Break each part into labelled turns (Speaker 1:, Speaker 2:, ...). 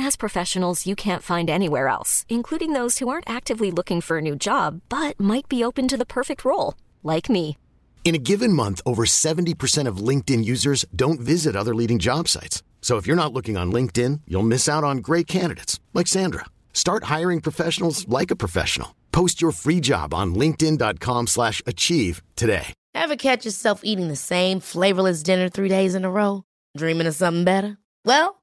Speaker 1: has professionals you can't find anywhere else, including those who aren't actively looking for a new job but might be open to the perfect role, like me.
Speaker 2: In a given month, over 70% of LinkedIn users don't visit other leading job sites. So if you're not looking on LinkedIn, you'll miss out on great candidates like Sandra. Start hiring professionals like a professional. Post your free job on linkedin.com/achieve slash achieve today.
Speaker 3: Ever catch yourself eating the same flavorless dinner three days in a row? Dreaming of something better? Well,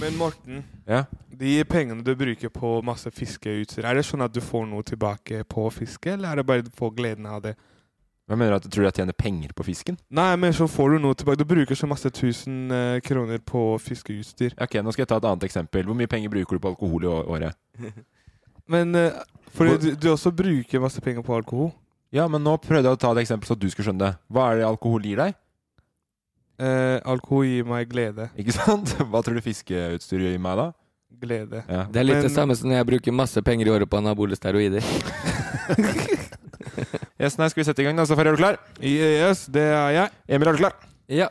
Speaker 4: Men Morten,
Speaker 5: Ja.
Speaker 4: de pengene du bruker på masse fiskeutstyr, er det sånn at du får noe tilbake på fisket, eller er det bare du får gleden av det?
Speaker 5: Hva mener du at du tror jeg tjener penger på fisken?
Speaker 4: Nei, men så får du noe tilbake. Du bruker så masse tusen eh, kroner på fiskeutstyr.
Speaker 5: Ok, Nå skal jeg ta et annet eksempel. Hvor mye penger bruker du på alkohol i å- året?
Speaker 4: Men eh, fordi
Speaker 5: Hvor-
Speaker 4: du, du også bruker masse penger på alkohol.
Speaker 5: Ja, men nå prøvde jeg å ta et eksempel så du skulle skjønne det. Hva er det alkohol gir deg?
Speaker 4: Eh, alkohol gir meg glede.
Speaker 5: Ikke sant? Hva tror du fiskeutstyr gir meg da?
Speaker 4: Glede.
Speaker 5: Ja.
Speaker 6: Det er litt
Speaker 4: Men-
Speaker 6: det samme som når jeg bruker masse penger i året på anabole steroider.
Speaker 5: Yes, nei, skal vi sette i gang da, Safari, er du klar?
Speaker 4: Yes, det er jeg.
Speaker 5: Emil, er du klar?
Speaker 6: Ja.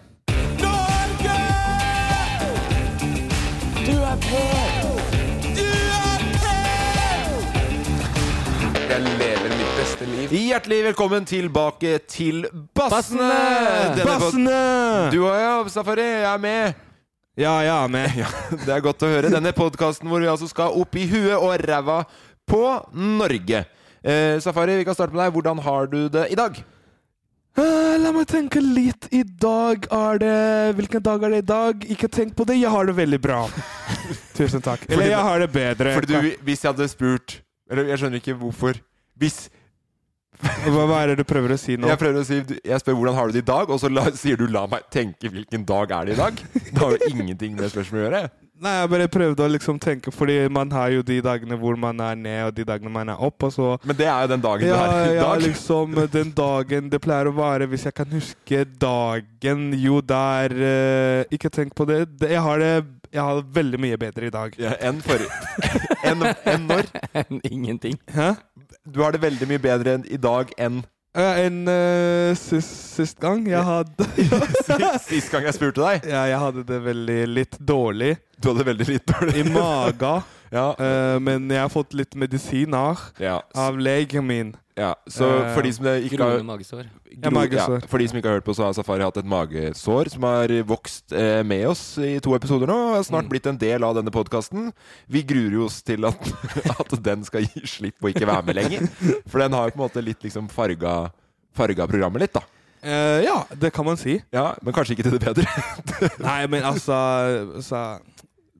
Speaker 5: Hjertelig velkommen tilbake til Bassene!
Speaker 6: Bassene!
Speaker 5: Denne pod-
Speaker 4: Bassene!
Speaker 5: Du og jeg, Safari, jeg er med.
Speaker 4: Ja, ja, med.
Speaker 5: Ja, det er godt å høre. Denne podkasten hvor vi altså skal opp i huet og ræva på Norge. Eh, Safari, vi kan starte med deg. Hvordan har du det i dag?
Speaker 4: Eh, La meg tenke litt. I dag er det Hvilken dag er det i dag? Ikke tenk på det. Jeg har det veldig bra. Tusen takk. Eller
Speaker 5: Fordi-
Speaker 4: jeg har det bedre.
Speaker 5: Fordi du, Hvis jeg hadde spurt Eller jeg skjønner ikke hvorfor. Hvis
Speaker 4: hva, hva er det du prøver å si nå?
Speaker 5: jeg prøver å si Jeg spør hvordan har du det i dag, og så la, sier du 'la meg tenke hvilken dag er det i dag', det har jo ingenting med spørsmålet å gjøre.
Speaker 4: Nei, jeg bare prøvde å liksom tenke, fordi man har jo de dagene hvor man er ned, og de dagene man er opp, og så
Speaker 5: Men det er jo den dagen
Speaker 4: ja,
Speaker 5: du er i
Speaker 4: ja,
Speaker 5: dag.
Speaker 4: liksom den dagen det pleier å være, hvis jeg kan huske dagen Jo, der eh, Ikke tenk på det. Det- Jeg har det jeg har det veldig mye bedre i dag.
Speaker 5: Ja, enn forrige enn, enn når?
Speaker 6: Ingenting.
Speaker 4: Hæ?
Speaker 5: Du har det veldig mye bedre enn i dag enn
Speaker 4: Eh, Enn eh, sist, sist gang jeg hadde
Speaker 5: sist gang jeg spurte deg.
Speaker 4: Ja, jeg hadde det veldig litt dårlig
Speaker 5: Du hadde veldig litt
Speaker 4: i
Speaker 5: dårlig
Speaker 4: maga,
Speaker 5: Ja,
Speaker 4: eh, men jeg har fått litt medisiner
Speaker 5: ja, s-
Speaker 4: av legen min.
Speaker 5: ja. Så
Speaker 4: Eh,
Speaker 5: for de, som det ikke har,
Speaker 6: Groende magesår.
Speaker 4: Ja, magesår.
Speaker 5: for de som ikke har hørt på, så har Safari hatt et magesår som har vokst eh, med oss i to episoder nå. Og har snart
Speaker 6: Mm.
Speaker 5: blitt en del av denne podkasten. Vi gruer jo oss til at, at den skal gi slipp og ikke være med lenger. For den har jo på en måte litt liksom farga, farga programmet litt, da.
Speaker 4: Eh, ja, det kan man si.
Speaker 5: Ja, Men kanskje ikke til det bedre.
Speaker 4: Nei, men altså, altså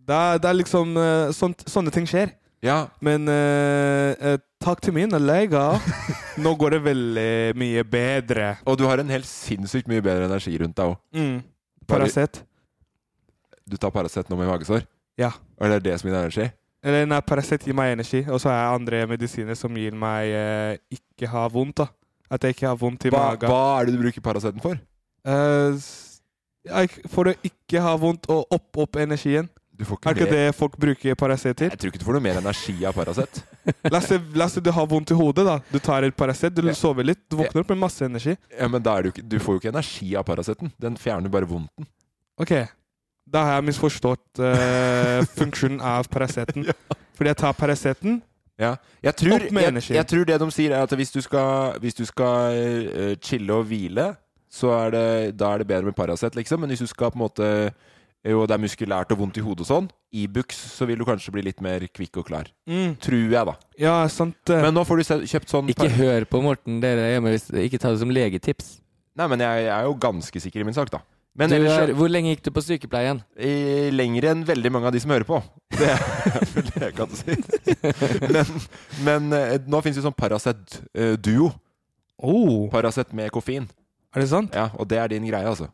Speaker 4: det, er, det er liksom eh, sånt, Sånne ting skjer.
Speaker 5: Ja,
Speaker 4: Men eh, eh, takk til mine leger. Nå går det veldig mye bedre.
Speaker 5: Og du har en helt sinnssykt mye bedre energi rundt deg òg.
Speaker 4: Mm. Paracet.
Speaker 5: Du tar Paracet nå med magesår?
Speaker 4: Ja.
Speaker 5: Og det er det som gir deg energi?
Speaker 4: Eller nei, Paracet gir meg energi, og så har jeg andre medisiner som gir meg eh, ikke ha vondt. da. At jeg ikke har vondt i
Speaker 5: Hva,
Speaker 4: magen.
Speaker 5: hva er det du bruker Paraceten for?
Speaker 4: Eh, s- jeg- for å ikke ha vondt og opp opp energien.
Speaker 5: Du får
Speaker 4: Er
Speaker 5: ikke
Speaker 4: ikke
Speaker 5: mer
Speaker 4: det folk bruker Paracet til?
Speaker 5: Jeg tror ikke du får noe mer energi av Paracet.
Speaker 4: Lasse, Lasse, du har vondt i hodet, da. Du tar et Paracet, du
Speaker 5: Ja.
Speaker 4: sover litt, du våkner opp med masse energi.
Speaker 5: Ja, men da er du, ikke, du får jo ikke energi av Paraceten. Den fjerner bare vondten.
Speaker 4: Ok, da har jeg misforstått eh, funksjonen av Paraceten. Fordi jeg tar Paraceten.
Speaker 5: Ja. Jeg, tror,
Speaker 4: Opp med
Speaker 5: jeg,
Speaker 4: energi.
Speaker 5: jeg tror det de sier, er at hvis du skal, hvis du skal eh, chille og hvile, så er det, da er det bedre med Paracet, liksom. Men hvis du skal på en måte Jo, det er muskulært og vondt i hodet og sånn. Ibux, så vil du kanskje bli litt mer kvikk og klar.
Speaker 4: Mm.
Speaker 5: Tror jeg, da.
Speaker 4: Ja, sant. eh. det.
Speaker 5: Men nå får du se, kjøpt sånn
Speaker 6: Ikke hør på Morten, dere hjemme. Hvis, ikke ta det som legetips.
Speaker 5: Nei, men jeg, jeg er jo ganske sikker i min sak, da. Men
Speaker 6: du
Speaker 5: ellers
Speaker 6: er, hvor lenge gikk du på sykepleien?
Speaker 5: eh, lenger enn veldig mange av de som hører på. Det er vel det jeg kan si. Men, men eh, nå fins jo sånn Paracet eh, Duo.
Speaker 4: oh,
Speaker 5: Paracet med koffein.
Speaker 4: er det sant?
Speaker 5: Ja, og det er din greie, altså.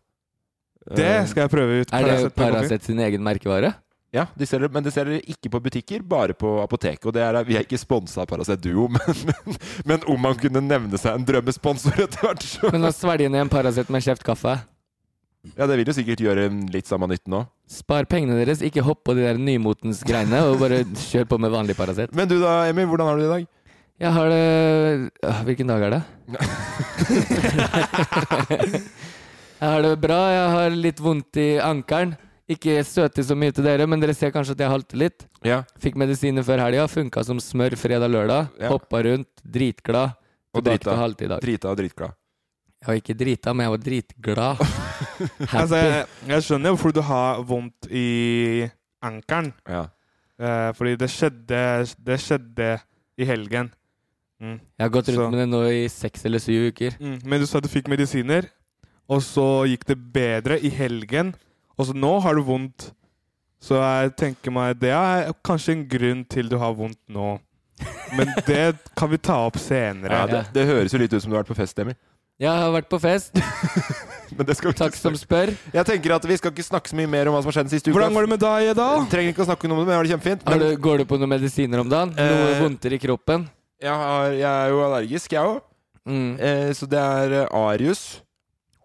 Speaker 4: Det
Speaker 5: Eh,
Speaker 4: skal jeg prøve ut.
Speaker 6: Er det
Speaker 4: Paracet med koffein.
Speaker 6: Paracet sin egen merkevare?
Speaker 5: Ja, de selger, men det selger ikke på butikker, bare på apoteket. Og det er, vi er ikke sponsa av Paracet Duo, men, men, men om man kunne nevne seg en drømmesponsor etter hvert, så
Speaker 6: Men å svelge ned en Paracet med kjeft kaffe
Speaker 5: Ja, det vil jo sikkert gjøre litt samme nytten òg.
Speaker 6: Spar pengene deres, ikke hopp på de der nymotens greiene, og bare kjør på med vanlig Paracet.
Speaker 5: Men du da, Emil, hvordan har du det i dag?
Speaker 6: Jeg har det Åh, Hvilken dag er det? jeg har det bra. Jeg har litt vondt i ankelen. Ikke søte så mye til dere, men dere ser kanskje at jeg halter litt.
Speaker 5: Ja,
Speaker 6: Fikk medisiner før helga, funka som smør fredag-lørdag.
Speaker 5: Ja.
Speaker 6: Hoppa rundt, dritglad.
Speaker 5: Og
Speaker 6: Tilbake
Speaker 5: drita.
Speaker 6: til halte i dag.
Speaker 5: Drita og dritglad.
Speaker 6: Jeg var ikke drita, men jeg var dritglad.
Speaker 4: Altså,
Speaker 6: Happy.
Speaker 4: jeg, jeg skjønner hvorfor du har vondt i ankelen.
Speaker 5: Ja.
Speaker 4: Eh, fordi det skjedde, det skjedde i helgen. Mm.
Speaker 6: Jeg har gått rundt
Speaker 4: Så-
Speaker 6: med det nå i seks eller syv uker.
Speaker 4: Mm. Men du sa du fikk medisiner, og så gikk det bedre i helgen. Og så nå har du vondt. Så jeg tenker meg det er kanskje en grunn til du har vondt nå. Men det kan vi ta opp senere.
Speaker 5: Ja, det, det høres jo litt ut som du har vært på fest, Emil.
Speaker 6: Jeg har vært på fest.
Speaker 5: Men det skal vi ikke
Speaker 6: Takk som
Speaker 5: snakke-
Speaker 6: spør.
Speaker 5: Jeg tenker at vi skal ikke snakke så mye mer om hva som har skjedd den siste uka.
Speaker 4: Hvordan går det med deg da?
Speaker 5: Trenger ikke å snakke noe om det, men jeg har det kjempefint.
Speaker 6: Har
Speaker 5: Men
Speaker 6: du, går du på noen medisiner om dagen? Noe
Speaker 5: Eh.
Speaker 6: vondter i kroppen?
Speaker 5: jeg, har, jeg er jo allergisk, jeg òg.
Speaker 6: Mm.
Speaker 5: Eh, så det er eh, Arius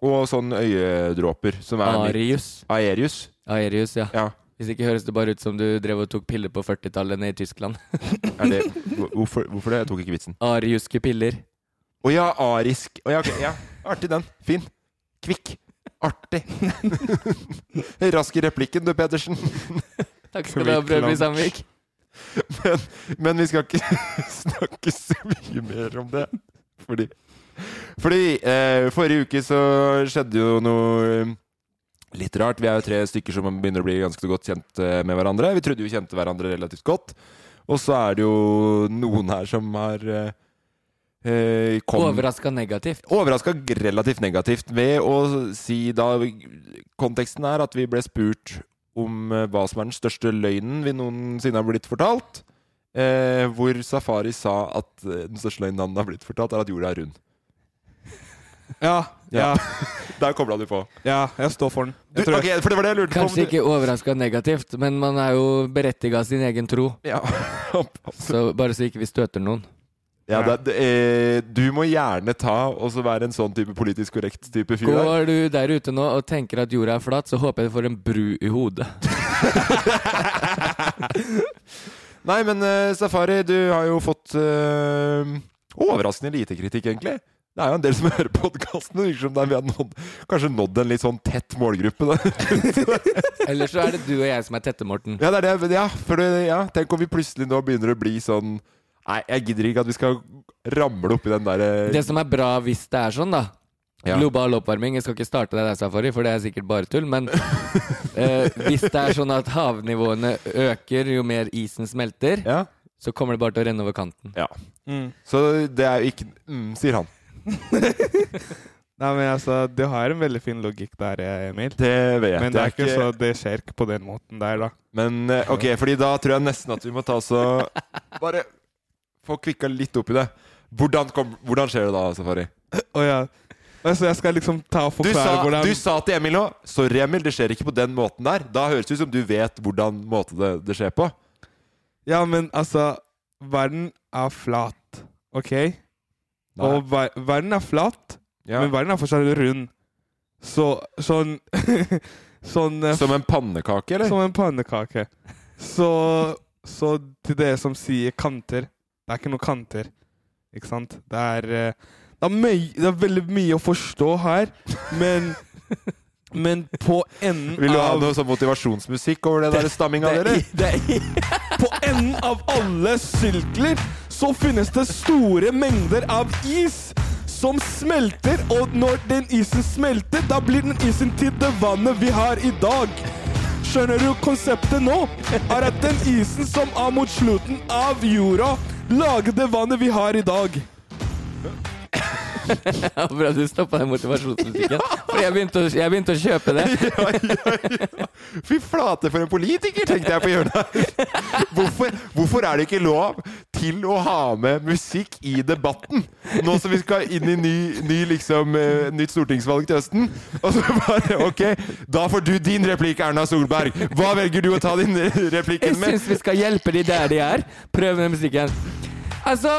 Speaker 5: og sånn øyedråper som er litt-
Speaker 6: Arius.
Speaker 5: Aerius.
Speaker 6: Arius, ja.
Speaker 5: Ja.
Speaker 6: Hvis ikke høres det bare ut som du drev og tok piller på 40-tallet nede i Tyskland.
Speaker 5: Er det, hvor- hvorfor, hvorfor det? Jeg tok ikke vitsen.
Speaker 6: Ariuske piller.
Speaker 5: Å ja, arisk. Å ja, ok, ja. Artig den. Fin. Kvikk. Artig. Rask i replikken, du, Pedersen.
Speaker 6: Takk skal du ha, Brødby Sandvik.
Speaker 5: Men, men vi skal ikke snakke så mye mer om det. Fordi, fordi eh, forrige uke så skjedde jo noe eh, litt rart. Vi er jo tre stykker som begynner å bli ganske så godt kjent eh, med hverandre. Vi trodde vi kjente hverandre relativt godt. Og så er det jo noen her som har eh, eh, kom-
Speaker 6: Overraska negativt.
Speaker 5: overraska relativt negativt ved å si da Konteksten er at vi ble spurt om eh, hva som er den største løgnen vi noensinne har blitt fortalt. Eh, hvor Safari sa at eh, den største løgnen han har blitt fortalt, er at jorda er rund.
Speaker 4: Ja, ja,
Speaker 5: Der kobla du på.
Speaker 4: ja, jeg står for den.
Speaker 5: Du,
Speaker 4: Jeg tror
Speaker 5: ok, for det var det jeg lurte på. om
Speaker 6: Kanskje
Speaker 5: du-
Speaker 6: ikke overraska negativt, men man er jo berettiga sin egen tro.
Speaker 5: Ja,
Speaker 6: Så bare så ikke vi støter noen.
Speaker 5: ja det, det, eh, du må gjerne ta og så være en sånn type politisk korrekt type fyr. der.
Speaker 6: Går du der ute nå og tenker at jorda er flat, så håper jeg du får en bru i hodet.
Speaker 5: Nei, men eh, Safari, du har jo fått eh, overraskende lite kritikk, egentlig. Det er jo en del som hører podkasten. Det virker som det er vi har nådd, kanskje nådd en litt sånn tett målgruppe. Da.
Speaker 6: Eller så er det du og jeg som er tette, Morten.
Speaker 5: Ja, det er det. men Ja, for det, ja, tenk om vi plutselig nå begynner å bli sånn Nei, jeg gidder ikke at vi skal ramle oppi den derre
Speaker 6: Det som er bra hvis det er sånn, da
Speaker 5: Ja.
Speaker 6: Global oppvarming. Jeg skal ikke starte deg der, Safari, for det er sikkert bare tull. Men eh, hvis det er sånn at havnivåene øker jo mer isen smelter,
Speaker 5: ja?
Speaker 6: så kommer det bare til å renne over kanten.
Speaker 5: ja.
Speaker 4: Mm.
Speaker 5: Så det er jo ikke mm, Sier han.
Speaker 4: Nei, men altså, Du har en veldig fin logikk der, eh, Emil.
Speaker 5: Det vet jeg.
Speaker 4: Men det er ikke så det skjer ikke på den måten der, da.
Speaker 5: Men eh, ok, fordi da tror jeg nesten at vi må ta så Bare få kvikka litt opp i det. Hvordan, kom, hvordan skjer det da, Safari?
Speaker 4: Å ja. Altså, jeg skal liksom ta og
Speaker 5: Du
Speaker 4: forklare
Speaker 5: sa,
Speaker 4: hvordan
Speaker 5: du sa til Emil nå Sorry, Emil, det skjer ikke på den måten der. Da høres det ut som du vet hvordan måte det, det skjer på.
Speaker 4: Ja, men altså Verden er flat, OK? Og ver verden er flat,
Speaker 5: Ja.
Speaker 4: men verden er fortsatt rund. Så sånn Sånn eh,
Speaker 5: Som en pannekake, eller?
Speaker 4: som en pannekake. Så Så til dere som sier kanter Det er ikke noen kanter, ikke sant? Det er eh, det er, møy, det er veldig mye å forstå her, men Men på enden
Speaker 5: Vil du ha
Speaker 4: av
Speaker 5: noe sånn motivasjonsmusikk over det der stamminga, eller?
Speaker 4: På enden av alle sirkler så finnes det store mengder av is. Så som smelter, og når den isen smelter, da blir den isen til det vannet vi har i dag. Skjønner du konseptet nå? Er at den isen som er mot slutten av jorda, lager det vannet vi har i dag.
Speaker 6: Ja, bra du stoppa den motivasjonsmusikken. For jeg begynte, å, jeg begynte å kjøpe det.
Speaker 5: Ja, ja, ja. Fy flate for en politiker, tenkte jeg på hjørnet. her. Hvorfor, hvorfor er det ikke lov til å ha med musikk i debatten? Nå som vi skal inn i ny, ny, liksom, eh, nytt stortingsvalg til høsten. Og så bare Ok, da får du din replikk, Erna Solberg. Hva velger du å ta din replikken
Speaker 6: Jeg
Speaker 5: med?
Speaker 6: syns vi skal hjelpe de der de er. Prøv den musikken. Altså,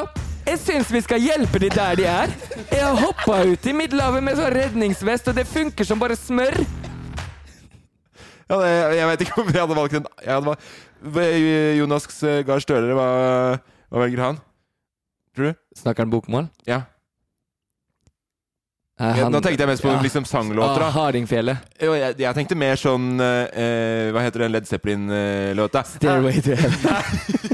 Speaker 6: jeg syns vi skal hjelpe de der de er. Jeg har hoppa ut i Middelhavet med sånn redningsvest, og det funker som bare smør.
Speaker 5: Ja, det, jeg vet ikke om jeg hadde valgt en jeg hadde valgt, Jonas eh, Gahr Støre, hva, hva velger han? Tror du?
Speaker 6: Snakker han bokmål?
Speaker 5: Ja.
Speaker 6: Eh, han-
Speaker 5: Nå tenkte jeg mest på
Speaker 6: Ja.
Speaker 5: liksom sanglåter. da.
Speaker 6: Ah, Hardingfjellet.
Speaker 5: Jo, jeg, jeg tenkte mer sånn eh, eh, Hva heter den Led Zeppelin-låta?
Speaker 6: Stairway to heaven.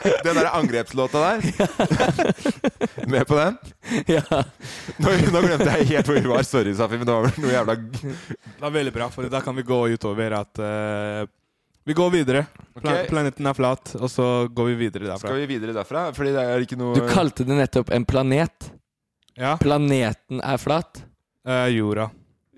Speaker 5: Den derre angrepslåta der. Med på den?
Speaker 6: ja.
Speaker 5: Nå, nå glemte jeg helt hvor vi var. Sorry, Safi, men det var vel noe jævla g-
Speaker 4: Det er veldig bra, for da kan vi gå utover at eh, Vi går videre. Pla-
Speaker 5: Ok.
Speaker 4: Planeten er flat, og så går vi videre derfra.
Speaker 5: Skal vi videre derfra? Fordi det er ikke noe
Speaker 6: Du kalte det nettopp en planet.
Speaker 4: Ja.
Speaker 6: Planeten er flat.
Speaker 4: Eh, jorda.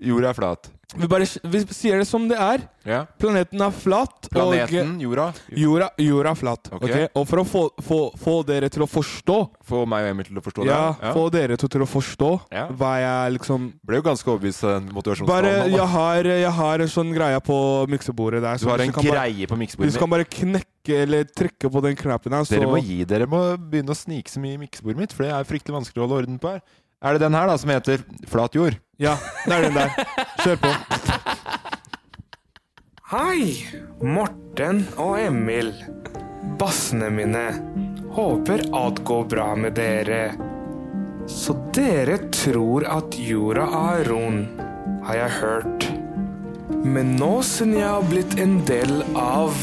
Speaker 5: Jorda er flat.
Speaker 4: Vi bare s- vi sier det som det er.
Speaker 5: Ja.
Speaker 4: Planeten er flat.
Speaker 5: Planeten jorda.
Speaker 4: Og jorda, jorda er flat.
Speaker 5: Ok.
Speaker 4: ok? Og for å få, få, få dere til å forstå
Speaker 5: Få meg og Emil til å forstå
Speaker 4: ja,
Speaker 5: det. Ja.
Speaker 4: Få dere to til å forstå
Speaker 5: Ja.
Speaker 4: hva jeg liksom
Speaker 5: Ble jo ganske overbevist av den motivasjonsballen.
Speaker 4: Bare,
Speaker 5: nå, da.
Speaker 4: jeg har, jeg har en sånn greie på miksebordet der.
Speaker 5: Du
Speaker 4: så
Speaker 5: har
Speaker 4: hvis
Speaker 5: en
Speaker 4: kan bare-
Speaker 5: greie
Speaker 4: Hvis
Speaker 5: på
Speaker 4: du
Speaker 5: miksebordet.
Speaker 4: kan bare knekke eller trykke på den knappen her, så
Speaker 5: Dere må gi dere må begynne å snike så mye i miksebordet mitt, for det er fryktelig vanskelig å holde orden på her. Er det den her da som heter Flat jord?
Speaker 4: Ja, det er den der. Kjør på.
Speaker 7: Hei, Morten og Emil. Bassene mine. Håper alt går bra med dere. Så dere tror at jorda er rund, har jeg hørt. Men nå siden jeg har blitt en del av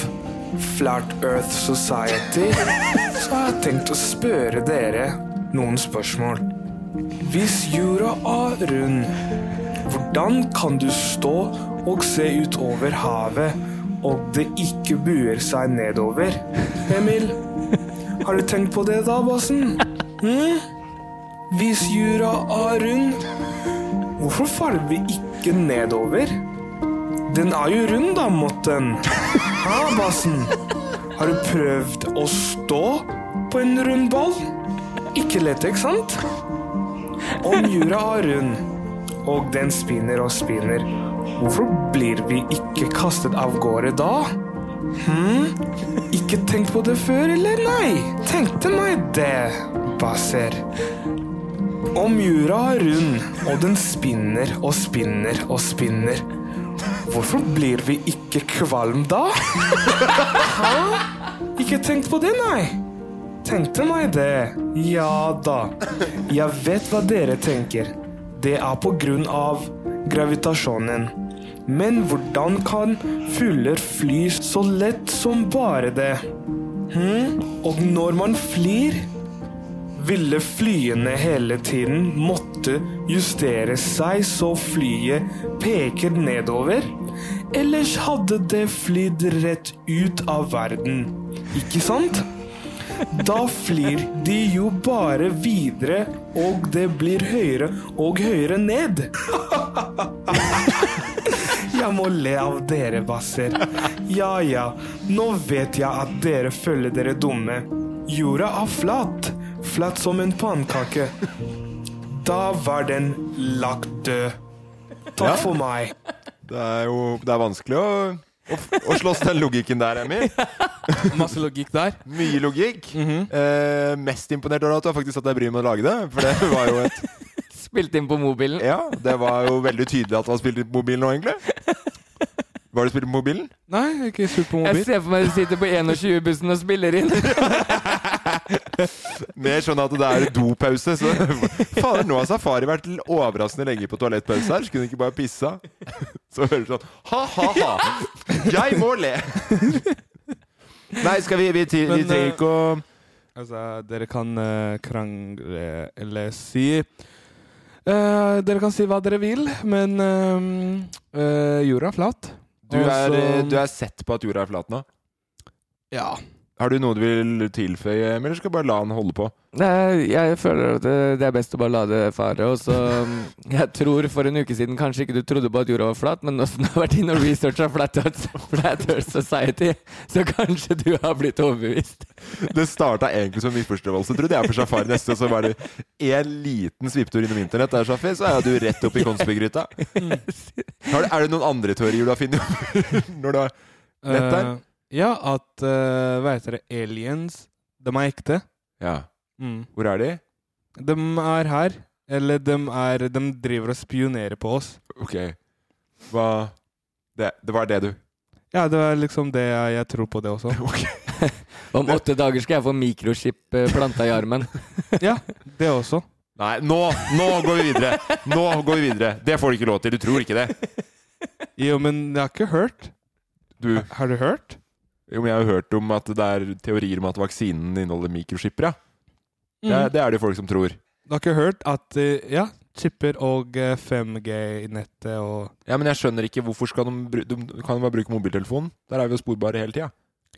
Speaker 7: Flat Earth Society, så har jeg tenkt å spørre dere noen spørsmål. Hvis jorda er rund, hvordan kan du stå og se utover havet og det ikke buer seg nedover? Emil, har du tenkt på det da, bassen? Hm? Hvis jorda er rund, hvorfor faller vi ikke nedover? Den er jo rund da, Motten. Hæ, bassen? Har du prøvd å stå på en rund ball? Ikke lett, ikke sant? Om jorda er rund, og den spinner og spinner. Hvorfor blir vi ikke kastet av gårde da? Hm? Ikke tenkt på det før, eller nei? Tenkte meg det, Basser. Om jorda er rund, og den spinner og spinner og spinner, hvorfor blir vi ikke kvalm da? Hæ? Ikke tenkt på det, nei. Tenkte meg det. Ja da. Jeg vet hva dere tenker. Det er på grunn av gravitasjonen. Men hvordan kan fugler fly så lett som bare det? Hm? Og når man flyr, ville flyene hele tiden måtte justere seg så flyet peker nedover? Ellers hadde det flydd rett ut av verden. Ikke sant? Da flyr de jo bare videre, og det blir høyere og høyere ned. Jeg må le av dere, basser. Ja ja, nå vet jeg at dere føler dere dumme. Jorda er flat. Flat som en pannkake. Da var den lagt død. Takk for meg.
Speaker 5: Det er jo det er vanskelig å, å, å slåss den logikken der, Emil.
Speaker 4: Masse logikk der.
Speaker 5: Mye logikk. eh, mest imponert over at du har faktisk satt deg bryet med å lage det. For det var jo et
Speaker 6: Spilte inn på mobilen.
Speaker 5: Ja, det var jo veldig tydelig at du har spilt litt på mobilen nå, egentlig. Hva har du spilt på mobilen?
Speaker 4: Nei, ikke
Speaker 6: Jeg
Speaker 4: supermobil.
Speaker 6: ser for meg du sitter på 21-bussen og spiller inn.
Speaker 5: Mer sånn at det er dopause. Så fader, nå har Safari vært l- overraskende lenge på toalettpause her. Skulle hun ikke bare pissa? Så hører du sånn ha-ha-ha. Jeg må le! Nei, skal vi Vi, ti- vi
Speaker 4: Men,
Speaker 5: trenger
Speaker 4: eh,
Speaker 5: ikke å
Speaker 4: Altså, dere kan eh, krangle eller si eh, Dere kan si hva dere vil, men eh, eh, jorda er flat.
Speaker 5: Du er, eh,
Speaker 4: Altså-
Speaker 5: du er sett på at jorda er flat nå.
Speaker 4: Ja.
Speaker 5: Har du noe du vil tilføye, Emil, eller skal du bare la han holde på?
Speaker 6: Nei, jeg føler at det det er best å bare la det fare. Og så mm, Jeg tror for en uke siden kanskje ikke du trodde på at jorda var flat, men nå som du har vært inne og researcha Flat Earth Flat Earth Society, så kanskje du har blitt overbevist.
Speaker 5: Det starta egentlig som misforståelse, trodde jeg, for Safari neste. Og så var det en liten sviptur innom internett der, Shafi, så er du rett opp i Konsbygryta. Har du- Er det noen andre teorier du har funnet opp? Når du har Lett der?
Speaker 4: Eh, ja, at uh, Hva heter det? Aliens. De er ekte. Mm.
Speaker 5: Ja. Hvor er de?
Speaker 4: De er her. Eller de, er, de driver og spionerer på oss.
Speaker 5: Ok. Hva Det, det var det, du.
Speaker 4: Ja, det er liksom det jeg, jeg tror på det også.
Speaker 6: Om åtte dager skal jeg få mikrochip eh, planta i armen.
Speaker 4: Ja, det også.
Speaker 5: Nei, nå, nå går vi videre! Nå går vi videre. Det får du ikke lov til. Du tror ikke det.
Speaker 4: Jo, men jeg har ikke hørt.
Speaker 5: Du,
Speaker 4: Har du hørt?
Speaker 5: jo, men jeg har jo hørt om at det er teorier om at vaksinen inneholder mikrochipper, ja. Det,
Speaker 4: Mm.
Speaker 5: er- det er det jo folk som tror.
Speaker 4: Du har ikke hørt at eh, Ja, chipper og eh, 5G-nettet og
Speaker 5: Ja, Men jeg skjønner ikke hvorfor skal de, bru- de kan de bare bruke mobiltelefonen? Der er vi jo sporbare hele tida.